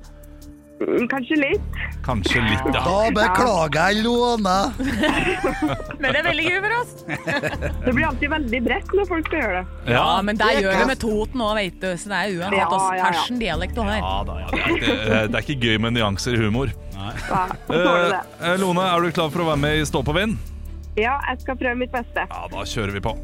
Mm, Kanskje litt.
Kanskje litt, ja.
Da
beklager jeg, Lone.
Men det er veldig altså. gøy for oss.
Det blir alltid veldig bredt når folk skal gjøre det.
ja
Ja, men der gjør vi med Toten òg, veit du. Så det er uansett
Ja,
oss
ja, ja.
persen dialekt du har.
Ja da, ja.
det, er ikke- det er ikke gøy med nyanser i humor.
Ja, så tåler det.
Eh, Lone, er du klar for å være med i Stå på vind?
Ja, jeg skal prøve mitt beste.
Ja, da kjører vi på.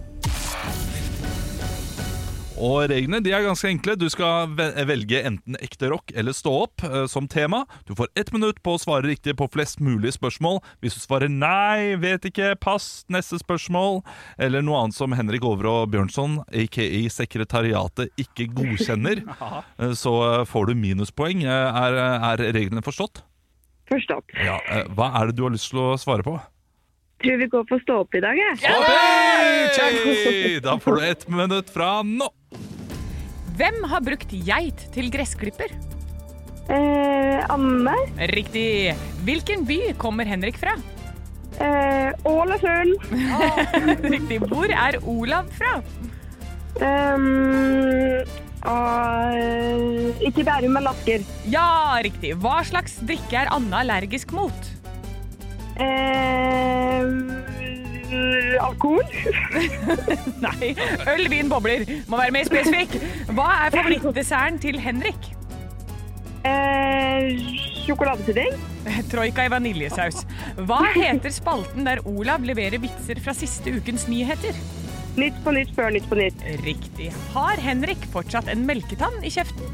Og reglene de er ganske enkle. Du skal ve- velge enten ekte rock eller stå opp eh, som tema. Du får ett minutt på å svare riktig på flest mulig spørsmål. Hvis du svarer nei, vet ikke, pass, neste spørsmål, eller noe annet som Henrik Over og Bjørnson, aka Sekretariatet, ikke godkjenner, eh, så eh, får du minuspoeng. Eh, Er, er reglene forstått?
Forstått.
Ja, eh, Hva er det du har lyst til å svare på?
Tror vi går for stå opp i dag, jeg.
Da får du ett minutt fra nå.
Hvem har brukt geit til gressklipper?
Eh, Anne.
Riktig. Hvilken by kommer Henrik fra?
Eh, Ålesund.
(laughs) Riktig. Hvor er Olav fra?
Eh, Ehm, og, eh, ikke Bærum, men Asker.
Ja, riktig. Hva slags drikke er Anne allergisk mot?
Eh, alkohol.
(laughs) Nei. Øl, vin, bobler. Må være mer spesifikk. Hva er favorittdesserten til Henrik?
Eh, sjokoladepudding.
Troika i vaniljesaus. Hva heter spalten der Olav leverer vitser fra siste ukens nyheter?
Nytt på nytt før Nytt på nytt.
Riktig. Har Henrik fortsatt en melketann i kjeften?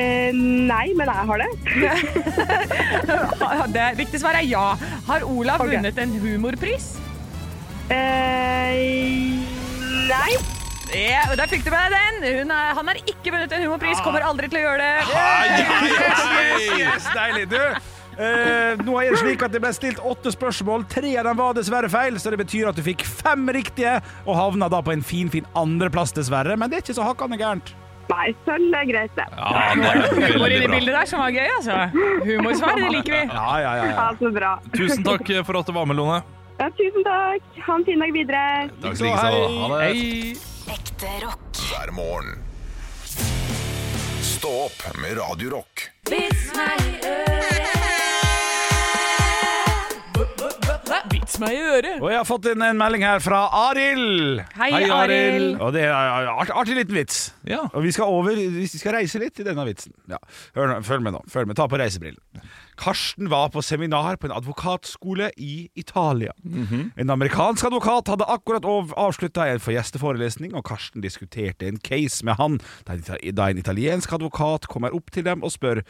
Eh, nei, men jeg har det.
(laughs) Det riktige svaret er ja. Har Olav vunnet en humorpris?
nei.
Ja, Eh, og der fikk du med deg den! Hun er, han har ikke vunnet en humorpris, kommer
Ah.
aldri til å gjøre det.
Yes, yes, yes, deilig. Du, eh, nå er det slik at det ble stilt åtte spørsmål. Tre av dem var dessverre feil, så det betyr at du fikk fem riktige og havna da på en finfin fin andreplass, dessverre. Men det er ikke så hakkande gærent.
Nei, sølv er greit, det.
Humor i det bildet der som var gøy, altså. Humorsvar, det liker vi.
Ja, ja, ja, ja.
Ja, så bra.
Tusen takk for at du var med, Lone.
Ja, tusen takk. Ha en fin dag videre.
Takk skal du ha. Ha det.
Ekte rock. Hver morgen. Stå opp med Radio Rock.
Vits meg i øret.
Og jeg har fått en, en melding her fra Arild.
Hei, Hei, Arild. Arild.
Og det er en art, artig liten vits. Og vi skal, over, vi skal reise litt i denne vitsen. Ja. Hør nå, følg med nå. Følg med. Ta på reisebrillen. Karsten var på seminar på en advokatskole i Italia.
Mhm.
En amerikansk advokat hadde akkurat avslutta en gjesteforelesning, og Karsten diskuterte en case med han, da en ita- da en italiensk advokat kommer opp til dem og spør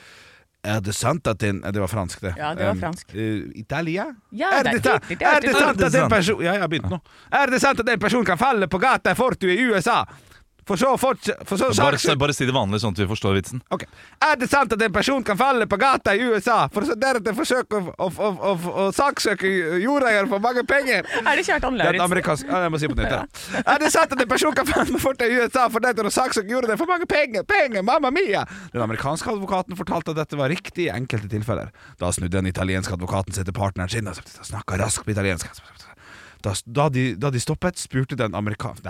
er det sant at en Det var fransk, det.
Ja, det var
Um,
fransk.
eh, Italia?
Ja,
er
det er
det, sant-
riktig, det er
er det
riktig.
sant
Er
at
det
en person Ja, jeg har begynt nå. Er det sant at en person kan falle på gata i Fortu i USA? For så fort for så saks
Bare, bare si det vanlig, sånn at vi forstår vitsen.
Ok. Er det sant at en person kan falle på gata i USA for så deretter forsøke å, å, å, å, å saksøke jordeier for mange penger?
Er det Kjartan
Det er et
Lauritzen?
amerikansk ja, Jeg må si på nytt. her. (laughs) Er det sant at en person kan falle fort til USA for dette og saksøke gjorde det for mange penger? Penger, mamma mia! Den amerikanske advokaten fortalte at dette var riktig i enkelte tilfeller. Da snudde den italienske advokaten seg til partneren sin og snakka raskt på italiensk. Da, da, de, da de stoppet, spurte den amerikanske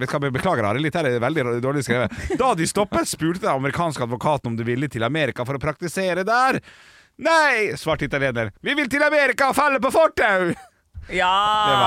Beklager, Arild, dette er veldig dårlig skrevet. Da de stoppet, spurte den amerikanske advokaten om du ville til Amerika for å praktisere der. Nei, svarte italiener. Vi vil til Amerika og falle på fortau! Ah.
Ja.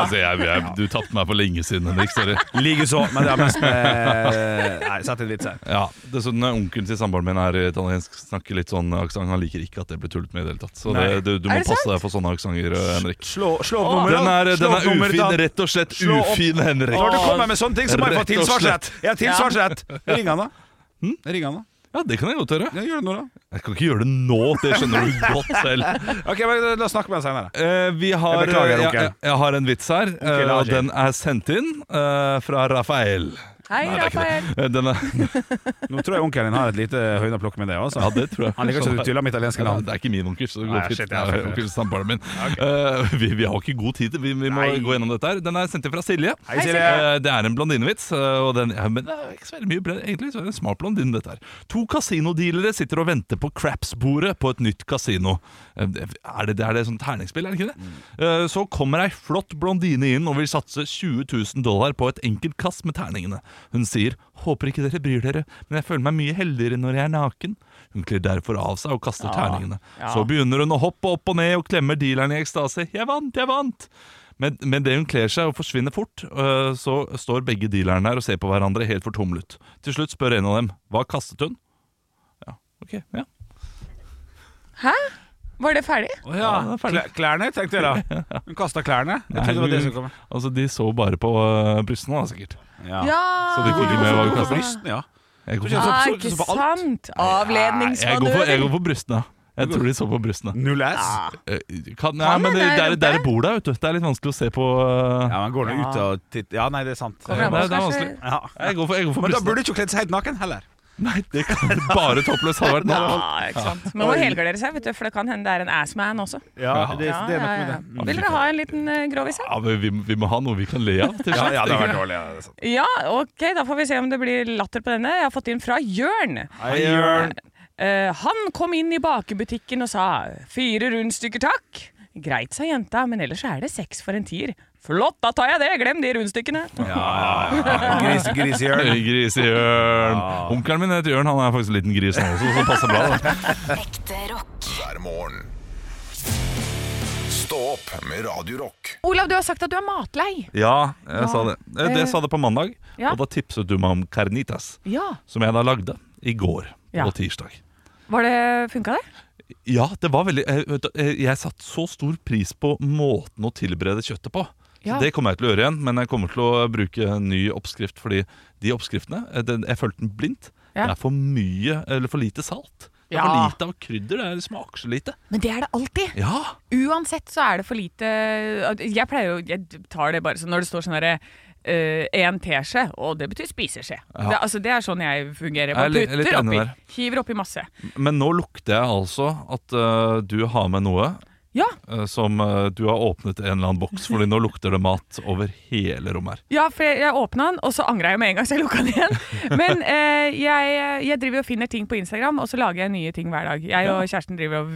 Altså, jeg, jeg, du tapte meg for lenge siden, Henrik. Sorry.
Likeså, men det er mest med Nei, satt en vits her.
Ja, Dessuten, eh, onkelen til samboeren min er italiensk, snakker litt sånn aksent. Han liker ikke at det blir tullet med i det hele tatt. Så det,
Nei.
du, du
Er
må
det
passe deg for sånne aksenter, Henrik.
Slå, slå opp nummeret.
Den er,
Slå opp
den er
nummeret,
ufin,
da.
rett og slett
Slå opp.
ufin, Henrik.
Når du kommer med sånne ting, så må jeg få
Rett og
tilsvarsrett.
slett.
Jeg har tilsvarsrett. (laughs) Hm? Ring han, da. Ring han, da.
Ja, det kan jeg godt gjøre.
Ja, gjør det nå, da.
Jeg kan ikke gjøre det nå, det
(laughs)
skjønner du godt selv.
Ok, men La oss snakke med han senere.
Eh, vi har,
Jeg beklager,
jeg,
onkel.
jeg, jeg har en vits her, eh,
Onkel
og
Agil.
den er sendt inn eh, fra Rafael.
Hei,
Nei, det er ikke det.
Rafael.
Eh, Den er,
Nå tror jeg onkelen din har et lite høyde å plukke med det også.
ja, det tror jeg.
Han liker ikke at du tuller med italienske
Ja,
navn.
(laughs) Det er ikke min onkel, så det
Nei,
går
shit,
fint.
jeg har
Det er
feil.
onkel samboeren min. Eh, vi, vi har ikke god tid, til- vi, vi må
Nei.
gå gjennom dette her. Den er sendt inn fra Silje.
Hei, Silje.
Eh, det er en blondinevits, eh, og den, ja, men det er ikke så veldig mye bl- egentlig, så er det en smart blondine dette her. To kasinodealere sitter og venter på craps-bordet på et nytt kasino. Eh, det- Er det, det er det sånn terningsspill, er det ikke det? Eh, Så kommer ei flott blondine inn og vil satse 20 000 dollar på et enkelt kast med terningene. Hun sier Håper ikke dere bryr dere, men jeg føler meg mye heldigere når jeg er naken. Hun kler derfor av seg og kaster terningene.
ja.
Så begynner hun å hoppe opp og ned og klemmer dealeren i ekstase. Jeg vant, jeg vant! Men, men det hun kler seg og forsvinner fort, øh, så står begge dealerne her og ser på hverandre helt fortumlet. Til slutt spør en av dem hva kastet hun? Ja, ok, ja.
Var det ferdig?
Å ja.
Ja, det er
Kl-
ferdig.
Klærne,
(laughs)
tenkte jeg da. Hun kasta klærne. Jeg
Nei,
trodde det var det
hun-
som kom.
Altså, De så bare på øh, brystene, da, sikkert.
Ja.
Så du fikk ikke med hva vi kasta?
Ja.
Jeg går
Ah,
for,
ikke sant? Avledningsmanøver.
jeg går for, jeg går for brystene. Jeg tror de så på brystene.
Null ass?
Eh, Kan, nei, men det, der, der bor det, vet du. Det er litt vanskelig å se på eh,
Ja, man går nå ut og titter Ja, nei, det er sant.
Kommer an på, Nei, det er kanskje- vanskelig.
Ja.
Jeg går for, jeg går for
Men da
brystene.
burde du ikke kledd seg helt naken heller.
Nei, det kan bare toppløs hadde vært noe.
Ja, ikke sant. Man må helgardere seg, vet du, for det kan hende det er en assman også.
Ja, det- det er
Ja,
nok med
ja, ja.
det. Mm.
Vil dere ha en liten eh, grovis her?
Ja, men vi, vi må ha noe vi kan le av.
Ja,
til slutt,
ja, det hadde
ikke
vært
det?
dårlig. Ja, det er sant.
Ja, ok, da får vi se om det blir latter på denne. Jeg har fått inn fra Jørn.
Hei, Jørn.
Eh, han kom inn i bakebutikken og sa fire rundstykker takk. Greit, sa jenta, men ellers er det seks for en tier. Flott, da tar jeg det, glem de rundstykkene.
Gris, grisehjørn.
(laughs) Grisehjørn. Onkelen min heter Jørn, han er faktisk en liten gris nå også, så det passer bra. da
hver morgen. Stå opp med Radio Rock.
Olav, du har sagt at du er matlei.
(laughs) Ja, jeg sa det. Eh,
Eh,
Det sa det på mandag,
ja.
og da tipset du meg om carnitas,
Ja,
som jeg da lagde i går
Ja.
på tirsdag.
var det, funka det?
Ja, det var veldig eh, vet du, eh, Jeg satte så stor pris på måten å tilberede kjøttet på. Så
Ja.
Det kommer jeg til å gjøre igjen, men jeg kommer til å bruke en ny oppskrift. Fordi de oppskriftene eh, den, Jeg følte den blindt.
Ja.
Det er for mye, eller for lite salt. Det er
Ja.
for lite av krydder. Det er- det smaker så lite.
Men det er det alltid.
Ja!
Uansett så er det for lite Jeg pleier jo Jeg tar det bare sånn når det står sånn herre Én teskje, og det betyr spiseskje.
Ja.
Det, altså, det er sånn jeg fungerer.
Jeg er
Bare
litt- litt
putter
enig
oppi.
der.
Hiver oppi masse.
Men nå lukter jeg altså at eh, du har med noe
Ja,
eh, som eh, du har åpnet en eller annen boks, fordi nå lukter det mat over hele rommet her.
Ja, for jeg, jeg åpna den, og så angra jeg med en gang, så jeg lukka den igjen.
(laughs)
Men eh, jeg, jeg driver og finner ting på Instagram, og så lager jeg nye ting hver dag. Jeg og kjæresten driver og,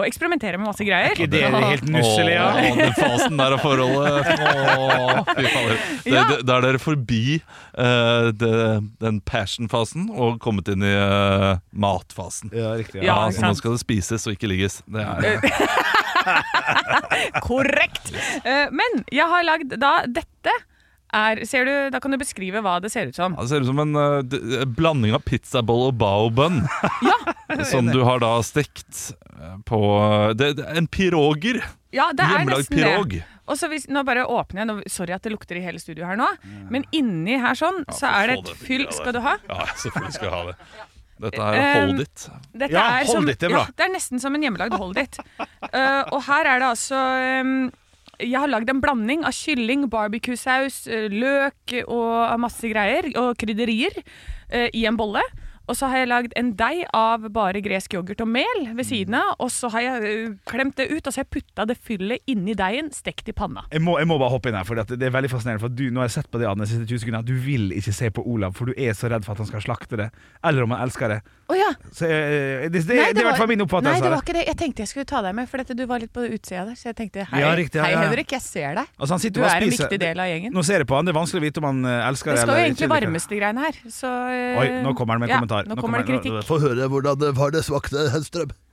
og eksperimenterer med masse greier.
Ikke det helt nusselig, ja.
Åh, den fasen der av
(laughs)
forholdet. Åh, fy fader. Det-
Ja.
det- Da er dere forbi eh, det, den passion-fasen og kommet inn i eh, matfasen.
Ja, riktig.
Ja,
så
ikke
nå
sant.
skal det spises og ikke ligges. Det er,
(laughs) Korrekt! Eh, men jeg har lagd da dette er Ser du, da kan du beskrive hva det ser ut som.
Ja, det ser ut som en eh, d- blanding av pizzaboll og bao-bønn. Som du har da stekt eh, på det, det, er En piroger.
Ja, det er
Hjemmelagd
nesten det.
pirog.
Og så hvis, nå bare åpner jeg, nå, sorry at det lukter i hele studio her nå, men inni her sånn, så
for
er det
Mm. få
et
det
fyll
bildet
Skal du ha?
Ja, selvfølgelig skal jeg ha det. Dette er
Eh,
hold it.
Dette
Ja,
er
hold
som,
ditt, det er bra.
Ja, det er nesten som en hjemmelagd hold ditt. (laughs) Eh, og her er det altså ehm, Jeg har lagd en blanding av kylling, barbecuesaus, eh, løk og masse greier. Og krydderier eh, i en bolle. Og så har jeg lagd en deig av bare gresk yoghurt og mel ved siden av. Og så har jeg eh, klemt det ut, og så har jeg putta det fyllet inni deigen, stekt i panna.
Jeg må, jeg må bare hoppe inn her, for det er veldig fascinerende. For du, nå har jeg sett på det Anne, de siste 20 sekundene at du vil ikke se på Olav, for du er så redd for at han skal slakte det. Eller om han elsker det.
Å ja.
Så eh, det, det, det er i hvert fall min oppfattelse.
Nei, det
av
var ikke det. Jeg tenkte jeg skulle ta deg med, for dette, du var litt på utsida der. Så jeg tenkte hei,
Ja, riktig, ja,
hei
ja.
Henrik, jeg ser deg.
Altså, han sitter
Du
bare og
er en
spiser-
viktig del av gjengen.
Nå ser jeg på han, det er vanskelig å vite om han eh, elsker
Det
det.
skal jo
eller
egentlig
ikke.
varmes, de greiene her. Så, eh,
Oi, nå kommer han med en
ja,
kommentar.
Nå kommer det kritikk.
Få høre.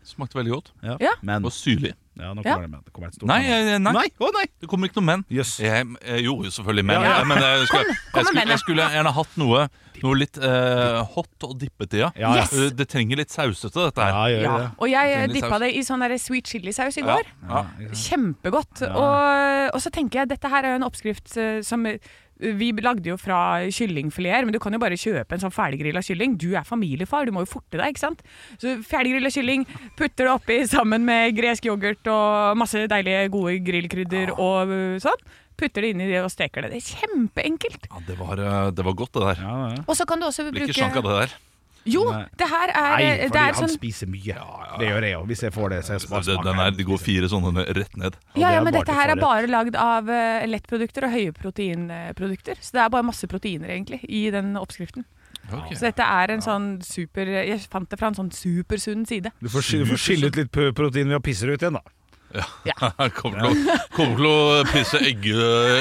Smakte veldig godt.
Ja.
Men
Og syrlig.
Ja, nå
Ja.
kommer det med. Det kommer et stort
Nei, eh, nei.
Nei, å nei!
Det kommer ikke noe men.
Jøss.
Jeg, jeg gjorde jo selvfølgelig men. eh,
Ja, ja.
Men jeg skulle, jeg
kom med
skulle,
mennet.
jeg skulle gjerne hatt noe, noe litt eh, hot og dippet i. Ja.
Ja, ja.
Eh, Det trenger litt sausete, dette her.
Ja, gjør
Ja.
det.
Og jeg eh,
Trenger litt
dippa
saus.
det i sånn der sweet chili-saus i går.
Ja.
Kjempegodt. Og, og så tenker jeg dette her er jo en oppskrift eh, som eh, vi lagde jo fra kyllingfileter, men du kan jo bare kjøpe en sånn ferdiggrilla kylling. Du er familiefar, du må jo forte deg, ikke sant? Så ferdiggrilla kylling, putter det oppi sammen med gresk yoghurt og masse deilige, gode grillkrydder og eh, sånn. Putter det inni det og steker det. Det er kjempeenkelt.
Ja, det, var, eh, det var godt, det der.
Ja, ja.
Og så kan du også bruke
Blir ikke sjank av det der.
Jo,
Nei.
det her er,
Nei,
det
fordi
er
han
sånn
spiser mye. Det gjør jeg jo, hvis jeg får det. Så jeg
Det,
smaker-
den er, det går fire sånne rett ned.
Og
Ja,
det
ja,
er
men
bare
dette her er
forrett.
bare lagd av eh, lettprodukter og høye proteinprodukter. Så det er bare masse proteiner, egentlig, i den oppskriften. Så dette er en sånn super Jeg fant det fra en sånn supersunn side.
Du får, sky- du får skille ut litt p- protein ved å pisse det ut igjen, da.
(laughs) Kommer til, å, kommer til å pisse egge,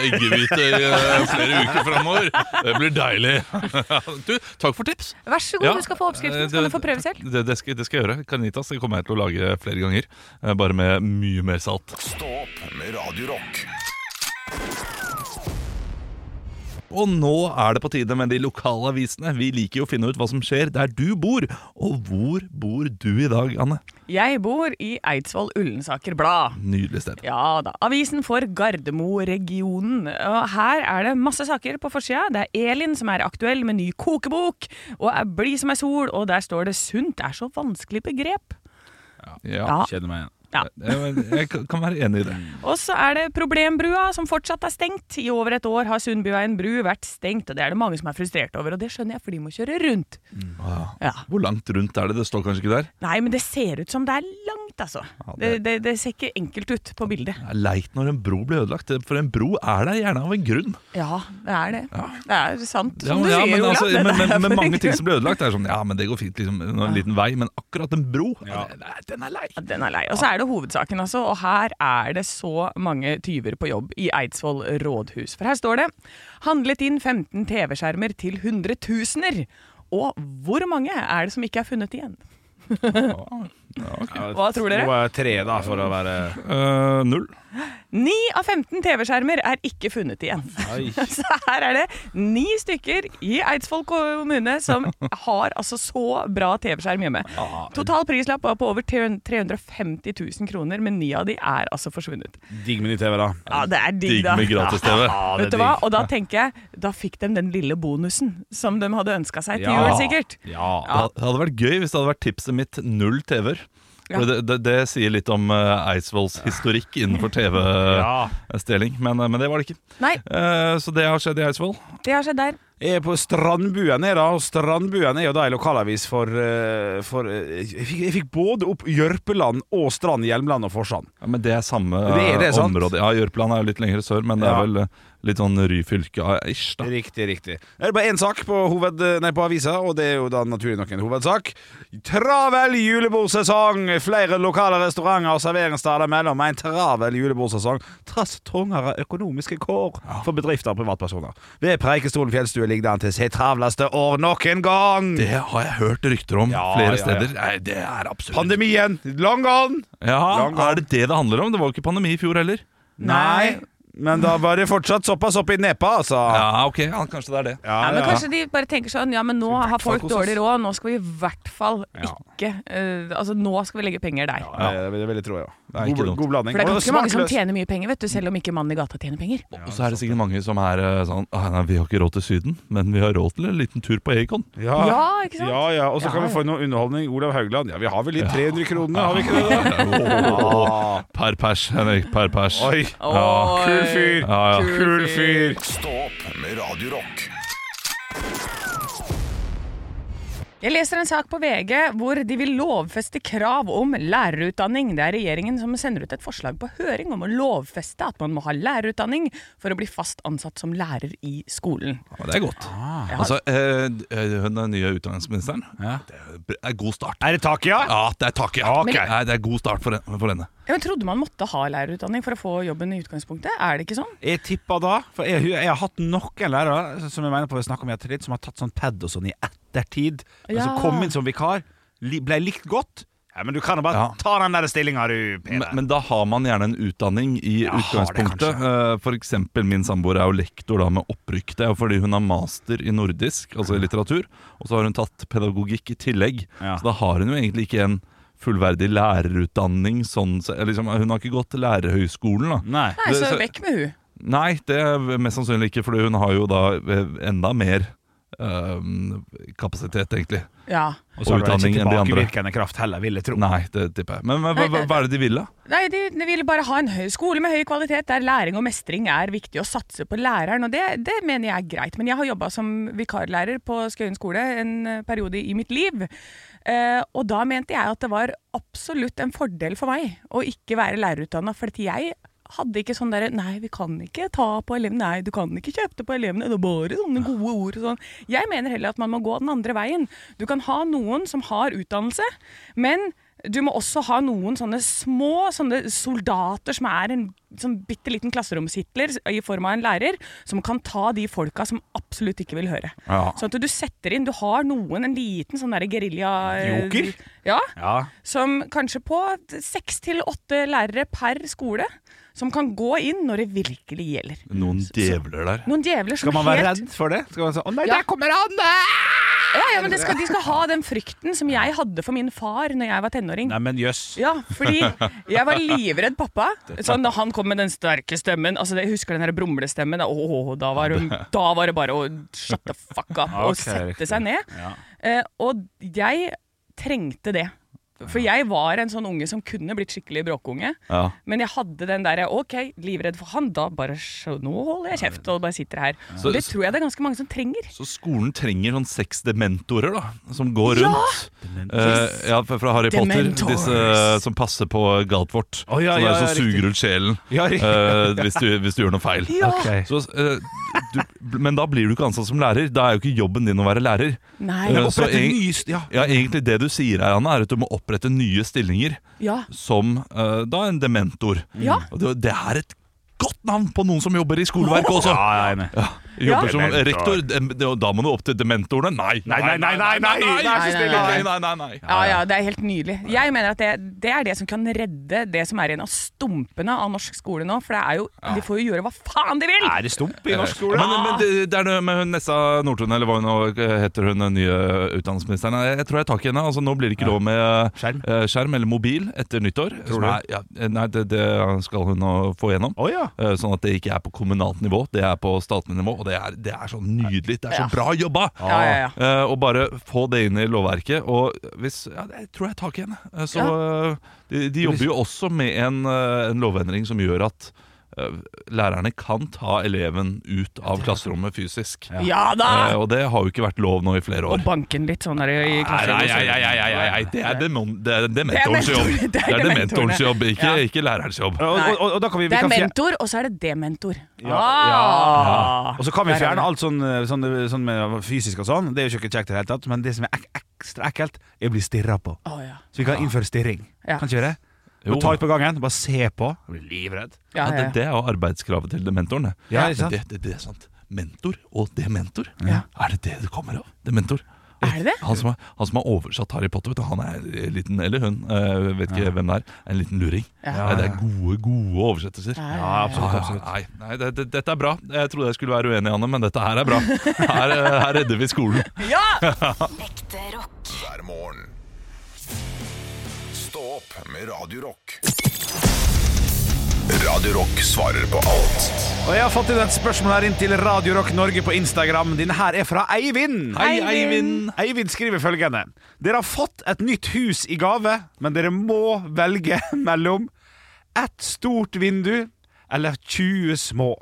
eggehvite i eh, flere uker framover. Det blir deilig. (laughs) Du, takk for tips.
Vær så god,
Ja,
du skal få oppskriften,
eh,
så kan
det-
du få prøve selv.
Det, det, skal, det skal jeg gjøre. Canitas det kommer jeg til å lage flere ganger, eh, bare med mye mer salt.
Stå opp med Radio Rock.
Og nå er det på tide med de lokale avisene. Vi liker jo å finne ut hva som skjer der du bor. Og hvor bor du i dag, Anne?
Jeg bor i Eidsvoll Ullensaker Blad.
Nydelig sted.
Ja da. Avisen for Gardermo-regionen. Og her er det masse saker på forsida. Det er Elin som er aktuell med ny kokebok, og er blid som ei sol, og der står det 'sunt er så vanskelig begrep'.
Ja,
kjenner meg igjen.
Ja.
Jeg kan kan være enig i det.
Og så er det Problembrua, som fortsatt er stengt. I over et år har Sundbyveien bru vært stengt, og det er det mange som er frustrert over. Og det skjønner jeg, for de må kjøre rundt.
Mm. Hvor langt rundt er det? Det står kanskje ikke der?
Nei, men det ser ut som det er langt, altså. det... Det, det, ser ikke enkelt ut på bildet.
Det er leit når en bro blir ødelagt, for en bro er der gjerne av en grunn.
Ja, det er det. Det er sant,
Ja,
som du
ja,
sier,
men,
Olav.
altså,
Det
men, men,
er
men
for en
mange ting
grunn.
som blir ødelagt, er sånn Ja, men det går fint, liksom. En liten vei. Men akkurat en bro Nei, Den er lei.
Den er lei. Og så er det hovedsaken, altså. Og her er det så mange tyver på jobb i Eidsvoll rådhus. For her står det 'Handlet inn 15 TV-skjermer til hundretusener'. Og hvor mange er det som ikke er funnet igjen? Hva tror dere?
Hun er tre, da, for å være
Eh, Null.
9 av 15 TV-skjermer er ikke funnet igjen.
Oi.
(laughs) Så her er det ni stykker i Eidsvoll kommune som har altså så bra TV-skjerm hjemme. Total prislapp var på over 350 000 kroner, men ni av de er altså forsvunnet.
Digg med nytt TV, da.
Ja, det er digg, da. (laughs)
Ja, det er
Vet du hva?
digg.
Og da tenker jeg, da fikk de den lille bonusen som de hadde ønska seg til
Ja.
jul, sikkert.
Det det hadde vært gøy hvis det hadde vært tipset mitt null TV-er.
Ja.
For Det, det, det sier litt om eh, Eidsvolls historikk (laughs) innenfor TV-stjeling, men, men det var det ikke.
Nei,
Eh, så det har skjedd i Eidsvoll.
det har skjedd der.
Jeg er på Strandbuen, jeg, da. Og Strandbuen er jo da en lokalavis for, eh, for eh, jeg, fikk, jeg fikk både opp Jørpeland og Strand, Hjelmland og Forsand.
Ja, men det er samme
Det er det,
eh,
sant?
område. Ja, Jørpeland er jo litt lenger sør, men det
Ja.
er vel eh, litt sånn Ryfylke-ish, da.
Riktig, riktig. Det er bare én sak på, hoved, nei, på avisa, og det er jo da naturlig nok en hovedsak. Travel julebordsesong! Flere lokale restauranter og serveringssteder melder om en travel julebordsesong trass trangere økonomiske kår for bedrifter og privatpersoner. Ved Preikestolen fjellstue ligger det an til sitt travleste år nok en gang!
Det har jeg hørt rykter om
Ja,
flere
ja, ja.
steder. Nei, det er absolutt
Pandemien! Long gone!
Ja,
Lang gang.
Er det det det handler om? Det var jo ikke pandemi i fjor heller.
Nei, men da var det fortsatt såpass opp i nepa, altså.
Ja, ok, ja, kanskje det er det.
Ja,
Ja, men
ja.
kanskje de bare tenker sånn Ja, men nå har folk
kose oss.
dårlig råd, nå skal vi i hvert fall ikke eh, Altså, nå skal vi legge penger der.
Ja, det vil- det vil jeg tro, ja. Det er
ikke
god,
dumt.
god blanding.
For det er
Og
ganske mange som
smakløs.
tjener mye penger, vet du, selv om ikke mannen i gata tjener penger.
Og så er det sikkert mange som er eh, sånn «Ah, nei, Vi har ikke råd til Syden, men vi har råd til en liten tur på Acon.
Ja.
Ja, ikke sant?
Ja, ja. Og så
Ja,
kan vi
ja.
få noe underholdning. Olav Haugland. Ja, vi har vel litt 300 kroner, har vi ikke det? (laughs) da? Ah.
Per pers, Henrik. Per pers.
Oi.
Oi.
Ja.
Kul fyr.
Ja, ja.
Kul fyr.
Stå opp med Radio Rock.
Jeg leser en sak på VG hvor de vil lovfeste krav om lærerutdanning. Det er regjeringen som sender ut et forslag på høring om å lovfeste at man må ha lærerutdanning for å bli fast ansatt som lærer i skolen.
Ja, Det er godt.
Ah.
Altså, eh, eh, hun er nye utdanningsministeren. Det er god start.
Er det tak, ja?
Ja, det er taket. Ja.
Ok.
Nei, det er god start for, hen- for henne.
Jeg trodde man måtte ha lærerutdanning for å få jobben i utgangspunktet. Er det ikke sånn?
Jeg tippa da, for jeg, jeg har hatt noen lærere som jeg mener på å snakke om jeg har litt, som har tatt sånn pad og sånn i ettertid, men som
Ja.
kom inn som vikar, li- ble likt godt. Ja, men du kan jo bare
Ja.
ta den der stillinga, du,
Men,
Peder.
men da har man gjerne en utdanning i
har det
utgangspunktet. Eh, For eksempel min samboer er jo lektor da med opprykk. Det er jo fordi hun har master i nordisk, altså i litteratur, og så har hun tatt pedagogikk i tillegg.
Ja.
Så da har hun jo egentlig ikke en fullverdig lærerutdanning. Sånn, så, eller liksom, hun har ikke gått til lærerhøyskolen. da
Nei.
Nei,
Det-
så
så-
vekk med hun.
Nei, det er mest sannsynlig ikke, Fordi hun har jo da eh, enda mer eh, kapasitet, egentlig.
Ja.
Og så har du
utdanning
ikke
enn de andre.
tilbakevirkende kraft heller, vil jeg tro.
Nei, det tipper jeg. Men hva, hva, hva er det de vil, da?
Nei, de, de ville bare ha en høy skole med høy kvalitet, der læring og mestring er viktig, og satse på læreren. Og det, det mener jeg er greit. Men jeg har jobba som vikarlærer på Skøyen skole en eh, periode i mitt liv. Eh, og da mente jeg at det var absolutt en fordel for meg å ikke være lærerutdanna, for at jeg hadde ikke sånn derre Nei, vi kan ikke ta på elevene. Nei, du kan ikke kjøpe det på elevene. Det er bare sånne gode ord og sånn. Jeg mener heller at man må gå den andre veien. Du kan ha noen som har utdannelse, men Du må også ha noen sånne små sånne soldater som er en sånn bitte liten klasseromshitler i form av en lærer, som kan ta de folka som absolutt ikke vil høre.
Ja.
Sånn at du setter inn Du har noen, en liten sånn derre gerilja...
Joker?
Ja. Som kanskje på seks til åtte lærere per skole, som kan gå inn når det virkelig gjelder.
Noen djevler der.
Noen djevler som
Skal man være
helt
redd for det? Skal man si, å nei,
Ja.
der kommer han!
Ja, ja, men det skal, De skal ha den frykten som jeg hadde for min far når jeg var tenåring.
Nei, men jøss.
Ja, fordi jeg var livredd pappa. Sånn, da han kom med den sterke stemmen altså, Jeg husker den her brumlestemmen. da, Åh, da, var hun- da var det bare å shut the fuck up og
Ok,
sette
riktig.
seg ned.
Ja.
Eh, og jeg trengte det. For jeg var en sånn unge som kunne blitt skikkelig bråkunge.
Ja.
Men jeg hadde den derre OK, livredd for han, da bare så, Nå holder jeg kjeft og bare sitter her.
Så-
Og det tror jeg det er ganske mange som trenger.
Så skolen trenger sånn seks dementorer, da, som går
Ja!
rundt. Eh, ja, fra fra Harry Potter.
Dementors.
Disse som passer på Galtvort.
Å, ja, ja,
som er
ja,
som suger
riktig.
ut sjelen
(laughs) Ja, riktig.
eh, hvis, du, hvis du gjør noe feil.
Ja. Ok.
Så, eh, du, men da blir du ikke ansatt som lærer. Da er jo ikke jobben din å være lærer.
Nei.
Eh,
Ja,
så
opprette
egen-
nye st- ja.
ja, egentlig det du sier her, Anna, er at du må opprette nye stillinger
Ja.
som eh, da en dementor.
Ja.
Og det, det er et godt navn på noen som jobber i skoleverket også!
Ja, jeg er enig.
Jobber
Ja.
som
Dementor.
rektor, dem- det- og da må du opp til dementorene? Nei!
Nei, nei, nei, nei, nei, nei,
nei, nei,
nei, nei, nei.
Ja, ja, det er helt nydelig. Jeg mener at det, det er det som kan redde det som er en av stumpene av norsk skole nå. For det er jo, de får jo gjøre hva faen de vil!
Er det stump i norsk
Ja,
skole?
Men, men det, det er det med hun Nessa Nordtun, eller hva hun nå heter, hun nye utdanningsministeren. Jeg, jeg tror jeg tar tak i henne. altså Nå blir det ikke lov med skjerm. skjerm eller mobil etter nyttår.
Tror
som
du?
er- ja, nei, det, det skal hun nå få gjennom. Eh, Sånn at det ikke er på kommunalt nivå, det er på statlig nivå. Og det er, det er så nydelig. Det er
Ja.
så bra jobba!
Ja, ja,
Eh, Og bare få det inn i lovverket. Og hvis ja, Jeg tror jeg tar tak i henne. Eh, Så eh, de, de jobber jo også med en, eh, en lovendring som gjør at eh, lærerne kan ta eleven ut av klasserommet fysisk.
Ja. Ja da!
Eh, Og det har jo ikke vært lov nå i flere år.
Banken litt sånn der i i
Nei, nei,
klasserommet.
nei, nei, nei, nei, nei. Det er demon- det er dementorens
mentor- (laughs)
jobb.
det
Det
er
er dementorens
dementorene.
jobb, ikke,
Ja.
ikke lærerens jobb.
Nei.
og- og da kan vi- vi
det er
kan fjer-
mentor, og så er det dementor.
Ja,
Ah!
ja. Og så kan vi
Der er
fjerne
det.
alt sånn, eh, sånn, sånn med fysisk og sånn. Det er jo ikke kjekt i det hele tatt. Men det som er ek ekstra ekkelt, er å bli stirra på. Så vi kan innføre stirring.
Ja.
Kan ikke vi det?
Jo.
Bare Ta litt på gangen, bare se på. Bli livredd.
Ja, det, det er jo arbeidskravet til dementoren. det.
Ja, ikke sant?
Det, det, det er sant. Mentor og dementor. Er det det det kommer av? Dementor. Er det? Han som har, han som har oversatt Harry Potter, vet du, han er en liten, eller hun, eh, vet ikke hvem det er, en liten luring.
Ja.
Nei, det er gode, gode oversettelser.
Ja, ja, ja. absolutt, absolutt.
Nei, nei det, det, dette er bra. Jeg trodde jeg skulle være uenig, Anne, men dette her er bra. Her, eh, her redder vi skolen.
Ekte rock. Hver morgen. Stå opp med Radio Rock. Radio Rock svarer på alt.
Og jeg har fått inn et spørsmål her inn til Radio Rock Norge på Instagram. Denne her er fra Eivind.
Hei, Eivind.
Eivind skriver følgende. Dere har fått et nytt hus i gave, men dere må velge (laughs) mellom ett stort vindu eller 20 små.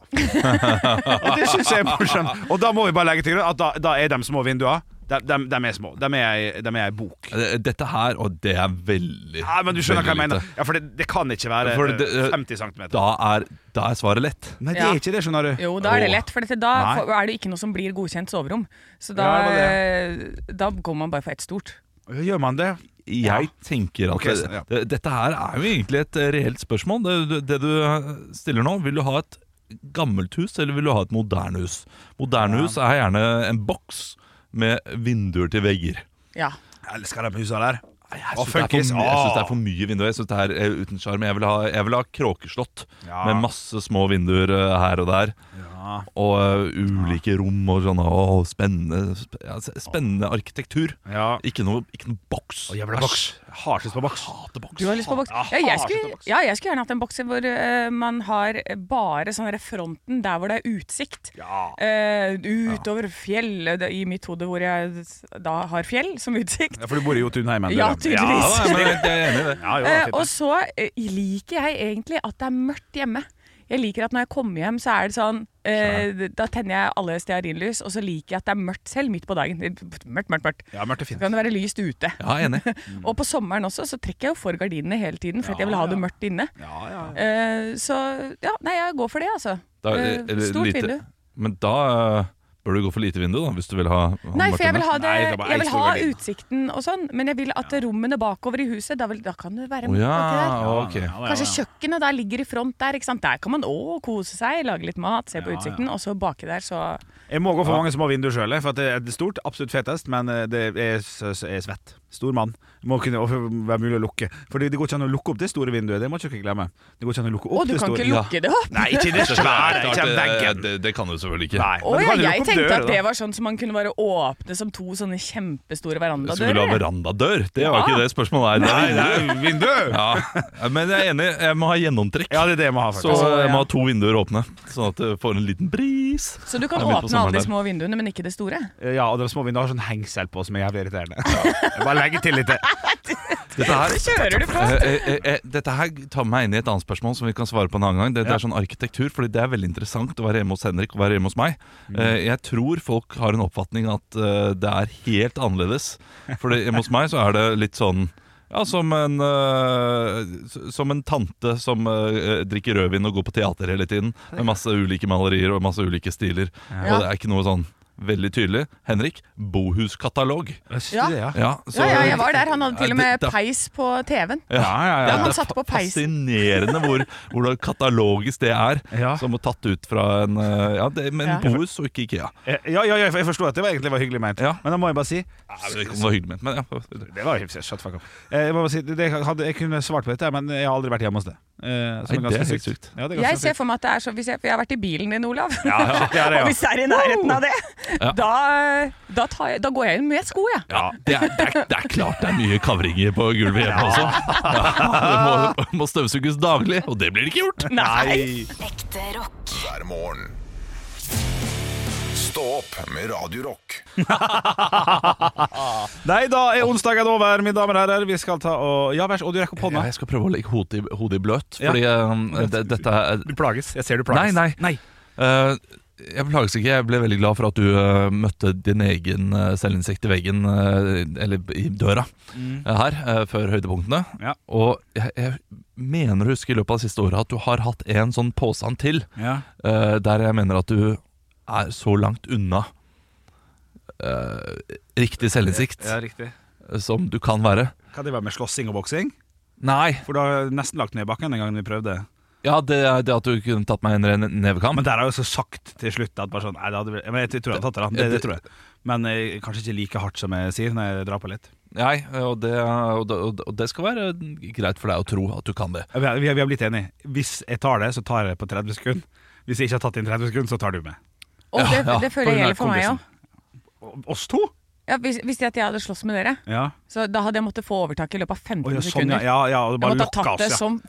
(laughs) Og det syns jeg er morsomt. Og da må vi bare legge til grunn at da, da er de små vinduene de, de, de er små. De er, de er ei bok.
Eh, Dette her, og det er veldig
Ja, men du skjønner hva jeg
veldig lite.
mener. Ja, For det, det kan ikke være
For det-
eh, 50 cm.
Da er, da er svaret lett.
Nei,
Ja.
ikke det, skjønner du.
Jo, da er det lett, for dette, da
Nei.
får- er det ikke noe som blir godkjent soverom. Så da,
Ja,
eh, da går man bare for ett stort.
Gjør man det?
Jeg tenker at
Ok, så- ja.
det, dette her er jo egentlig et eh, reelt spørsmål. Det, det- det du eh, stiller nå, vil du ha et gammelt hus eller vil du ha et moderne hus? Moderne hus er gjerne en boks med vinduer til vegger.
Ja.
Jeg elsker de husene der. Og
Jeg syns det, er for
funkis,
mye- jeg synes det
ah.
er for mye vinduer. Jeg synes det her er uten sjarm. Jeg, vil ha- jeg vil ha kråkeslott
Ja.
med masse små vinduer eh, her og der. Og eh, ulike rom og sånn. Å, spennende, sp- ja, spennende arkitektur. Ikke, noe, ikke noe boks.
Og jævla boks. Hardest på boks.
Hater boks.
Du har lyst på boks? Ja, jeg skulle, ja, jeg skulle gjerne hatt en boks hvor eh, man har bare sånn der fronten der hvor det er utsikt. Eh, utover fjell, det- i mitt hode hvor jeg da har fjell som utsikt.
Ja, for du bor i Jotunheimen. du,
Ja,
da. Ja,
tydeligvis.
da, men
jeg er enig i det.
Eh, og så eh, liker jeg egentlig at det er mørkt hjemme. Jeg liker at når jeg kommer hjem, så er det sånn eh, Da tenner jeg alle stearinlys, og så liker jeg at det er mørkt selv midt på dagen. Mørkt, mørkt, mørkt.
Ja, mørkt er
Så
fint.
kan det være lyst ute.
Ja, enig.
og på sommeren også, så trekker jeg jo for gardinene hele tiden, for at jeg vil ha det mørkt inne.
Ja, ja.
Eh, så ja, nei, jeg går for det, altså.
Da,
Eh,
eller
Stort
lite-
vindu.
Men da, eh, Bør du gå for lite vindu, da, hvis du vil ha, ha
Nei, for
Martin
jeg vil ha,
Ness?
det, jeg vil ha utsikten og sånn, men jeg vil at rommene bakover i huset Da, vil, da kan det være
Å ja,
mørkt
ok.
der. Kanskje kjøkkenet da ligger i front der. ikke sant? Der kan man å kose seg, lage litt mat, se på utsikten, og så baki der, så
Jeg må gå for mange små vinduer sjøl, for at det er stort, absolutt fetest, men eh, det er, s- s- er svett. Stor mann. Må kunne og være mulig å lukke. For det det går ikke an å lukke opp det store vinduet, det må ikke dere glemme. Det går ikke an å lukke opp
Å, du
det
kan
store.
ikke lukke det opp?
Nei,
(laughs)
ikke det svære, ikke
Det-
veggen.
Det, det kan du selvfølgelig ikke.
Nei.
Å
Men du
ja,
kan jo
jeg
lukke opp
tenkte
dører,
at det
da.
var sånn som man kunne bare åpne som to sånne kjempestore
Hvis du vil ha
verandadører.
verandadør, det var
Ja.
ikke det spørsmålet her.
Nei, det er vindu!
Ja. Men jeg er enig, jeg må ha gjennomtrekk.
Ja, det er det jeg må ha,
Så
faktisk.
jeg må ha to vinduer åpne, sånn at du får en liten bris.
Så du kan
Det er midt på
åpne alle
sommeren
de små vinduene, men ikke det store.
Ja, og de små vinduene har sånn hengsel på som er jævlig irriterende. (laughs) Jeg Bare legge til litt.
Dette her,
Så kjører du på.
Eh, eh, eh, dette her tar meg inn i et annet spørsmål som vi kan svare på en annen gang. Det, det er sånn arkitektur, fordi det er veldig interessant å være hjemme hos Henrik og være hjemme hos meg.
Mm.
Eh, jeg tror folk har en oppfatning at eh, det er helt annerledes. Fordi hjemme hos meg så er det litt sånn ja, som en, eh, s- som en tante som eh, drikker rødvin og går på teater hele tiden. Med masse ulike malerier og masse ulike stiler.
Ja.
Og det er ikke noe sånn veldig tydelig. Henrik, bohuskatalog.
(laughs) Ja.
Ja.
Ja, så-
Ja, ja, jeg var der. Han hadde
Ja,
til og
det-
med
det er
peis på TV-en.
ja, ja,
Ja, han
Det
satt
er
på
fa-
peisen.
Fascinerende hvor, hvordan katalogisk det er.
Ja.
Som er tatt ut fra en eh, Ja, det, men
Ja.
Bohus og ikke Ikea.
Eh, Ja, ja, ja, jeg forstår at det var egentlig var hyggelig ment,
Ja.
men da må jeg bare si
Så det var hyggelig ment, men ja.
Det var hyggelig, shut the fuck up. Eh, Jeg, må bare si, det, jeg, hadde, jeg kunne svart på dette, men jeg har aldri vært hjemme hos det. Eh, som
Nei, det er helt sykt.
Ja, det er ganske
Jeg ser
sykt.
for meg at det er så hvis jeg, For jeg har vært i bilen din, Olav.
ja, det er det, ja.
(laughs) Og hvis jeg er i nærheten av det,
Ja.
da, da, tar jeg, da går jeg inn med sko, jeg.
ja det, er, det, er, det er klart det er mye kavringer på gulvet hjemme også. Ja, det må, må støvsuges daglig, og det blir det ikke gjort.
Nei!
hver morgen. Stå opp med Radio Rock.
Nei, da er onsdagen over, mine damer og herrer. Vi skal ta og Ja, vær så Og du rekker opp hånda.
Jeg skal prøve å legge hodet i, hodet i bløt,
Ja.
fordi eh, det, dette er
Du plages. Jeg ser du
Nei,
plages.
nei. Eh, jeg plages ikke. Jeg ble veldig glad for at du eh, møtte din egen eh, selvinnsikt i veggen, eh, eller i døra, eh, her, eh, før høydepunktene.
Mm. Ja.
Og jeg, jeg mener å huske i løpet av det siste året at du har hatt en sånn påstand til,
Ja.
eh, der jeg mener at du er så langt unna eh, riktig selvinnsikt
ja, riktig.
eh, som du kan være.
Kan det være med slåssing og boksing?
Nei.
For du har nesten lagt ned i bakken den gangen vi prøvde.
Ja, det, er det at du kunne tatt meg en ren nevekamp.
Men der har jeg også sagt til slutt at bare sånn Nei, det hadde vel- men jeg tror jeg hadde tatt det, da. Det, det tror jeg. Men eh, kanskje ikke like hardt som jeg sier når jeg drar på litt.
Nei, og det, og, det, og det skal være greit for deg å tro at du kan det.
Vi har, vi har- vi har blitt enige. Hvis jeg tar det, så tar jeg det på 30 sekunder. Hvis jeg ikke har tatt det inn 30 sekunder, så tar du med.
Og
Ja,
det,
ja,
det
på
føler
grunn av
jeg gjelder for meg
kompisen.
òg.
O- Oss to?
Ja, hvis, hvis jeg, at jeg hadde slåss med dere,
Ja.
så da hadde jeg måttet få overtaket i løpet av 15
Å, ja, sånn, ja,
sekunder.
ja, ja, og
Jeg
bare
måtte ha
lokka
tatt det
oss, ja.
som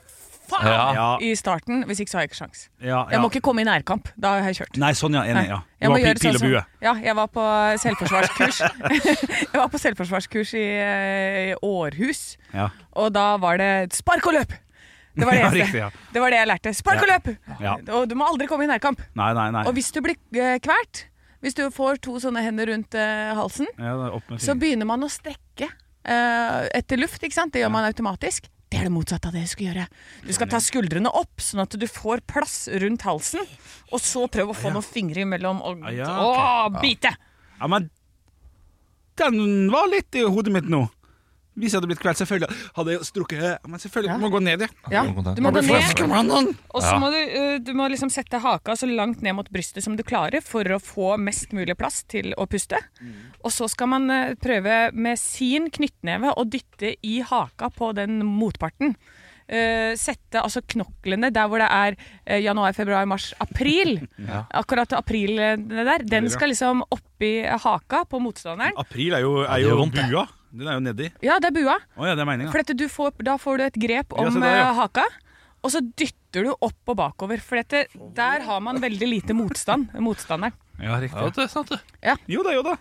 faen
Ja.
i starten, hvis ikke så har jeg ikke sjans.
Ja, ja.
Jeg må ikke komme i nærkamp. Da har jeg kjørt.
Nei, sånn, ja. Enig. ja.
Jeg
Det
må
var pil,
gjøre
pil og
sånn
bue.
som- Ja, jeg var på selvforsvarskurs. (laughs) jeg var på selvforsvarskurs i eh, Århus,
Ja.
og da var det spark og løp! Det var
(laughs)
det
Ja,
eneste.
riktig, ja.
Det var det jeg lærte. Spark og løp!
Ja.
Og du må aldri komme i nærkamp.
Nei, nei, nei.
Og hvis du blir eh, kvert, hvis du får to sånne hender rundt eh, halsen,
Ja, da, opp med
så
fingeren.
begynner man å strekke eh, etter luft, ikke sant? Det gjør man automatisk. Det er det motsatte av det du skal gjøre. Du skal ta skuldrene opp, sånn at du får plass rundt halsen. Og så prøv å få noen fingre imellom og
Ah, ja,
Å, bite!
ja, men den var litt i hodet mitt nå. Hvis jeg hadde blitt kvalt, selvfølgelig hadde jeg strukket Men selvfølgelig
Ja.
må jeg gå ned, ja.
Ja. Du må gå ned,
Come on, on.
og så må du, eh, du må liksom sette haka så langt ned mot brystet som du klarer for å få mest mulig plass til å puste. Og så skal man eh, prøve med sin knyttneve å dytte i haka på den motparten. Eh, sette altså knoklene der hvor det er eh, januar, februar, mars, april. Akkurat april eh, det der. Den skal liksom oppi haka på motstanderen.
April er jo, er
det gjør
jo
vondt, det.
bua. Den er jo nedi.
Ja, det er bua.
Å ja, det er meninga.
For dette, du får, da får du et grep
Ja,
om
se der, ja.
eh, haka, og så dytter du opp og bakover. For dette, der har man veldig lite motstand. (laughs) Motstanderen.
Ja, riktig.
Ja, det er sant, det.
Jo da, jo da.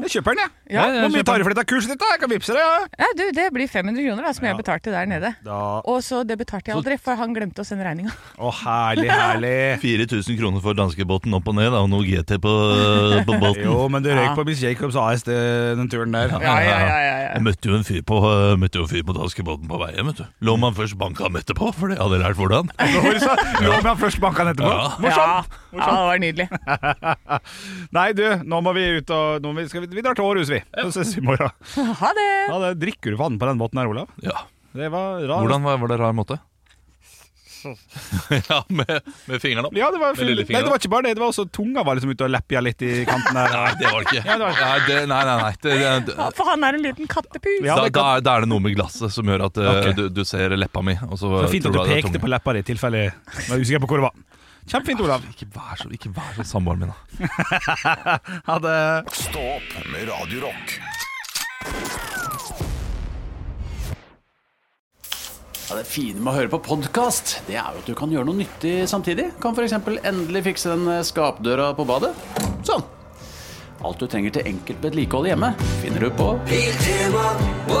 Jeg kjøper den, jeg.
Ja,
Hvor mye tar du for dette kurset ditt? da? Jeg kan vippse det. Ja.
Ja, du, det blir 500 kroner da, som jeg betalte der nede.
Da-
Og så det betalte jeg aldri, for han glemte å sende regninga.
Å, herlig, herlig.
4000 kroner for danskebåten opp og ned da, og noe GT på, eh, på
(laughs)
båten.
Jo, men du røyk på Miss Jacobs AS det- den turen der.
Jeg møtte jo en fyr på, eh, møtte jo en fyr på danskebåten på veien. vet du. Lå man først banka ham etterpå, for det hadde jeg lært hvordan.
Nå har du så- nå har man først banka den etterpå.
Ja.
Morsomt!
Ja, det var nydelig.
Nei, du, nå må vi ut og nå må vi, skal vi, vi drar til Århus, vi. Så ses vi i morgen.
Ha det!
Ja, det, drikker du vann på den måten her, Olav?
Ja.
Det var rar.
Hvordan var, var det rar måte? (laughs) ja, med, med fingeren opp?
Ja, det var,
Med
Nei,
lillefingeren
det var ikke bare det. Det var også tunga var liksom ute og leppja litt i kanten her.
Nei, det var det ikke.
Ja, det var ikke.
Nei, det, nei, nei, nei. Det, det, det,
Ja, For han er en liten kattepus.
Ja,
da,
det
da, er, da er det noe med glasset som gjør at eh,
Ok.
du, du ser leppa mi. Og så,
Det var fint
tror
at du
det er
pekte
tunga.
på leppa di i tilfelle jeg var usikker på hvor det var. Kjempefint, Olav.
Ikke vær så, ikke vær så samboeren min, da.
Ha det.
Stå opp med Radio Rock.
Ja, det fine med å høre på podkast, det er jo at du kan gjøre noe nyttig samtidig. Kan f.eks. endelig fikse den eh, skapdøra på badet. Sånn. Alt du trenger til enkelt vedlikehold hjemme, finner du på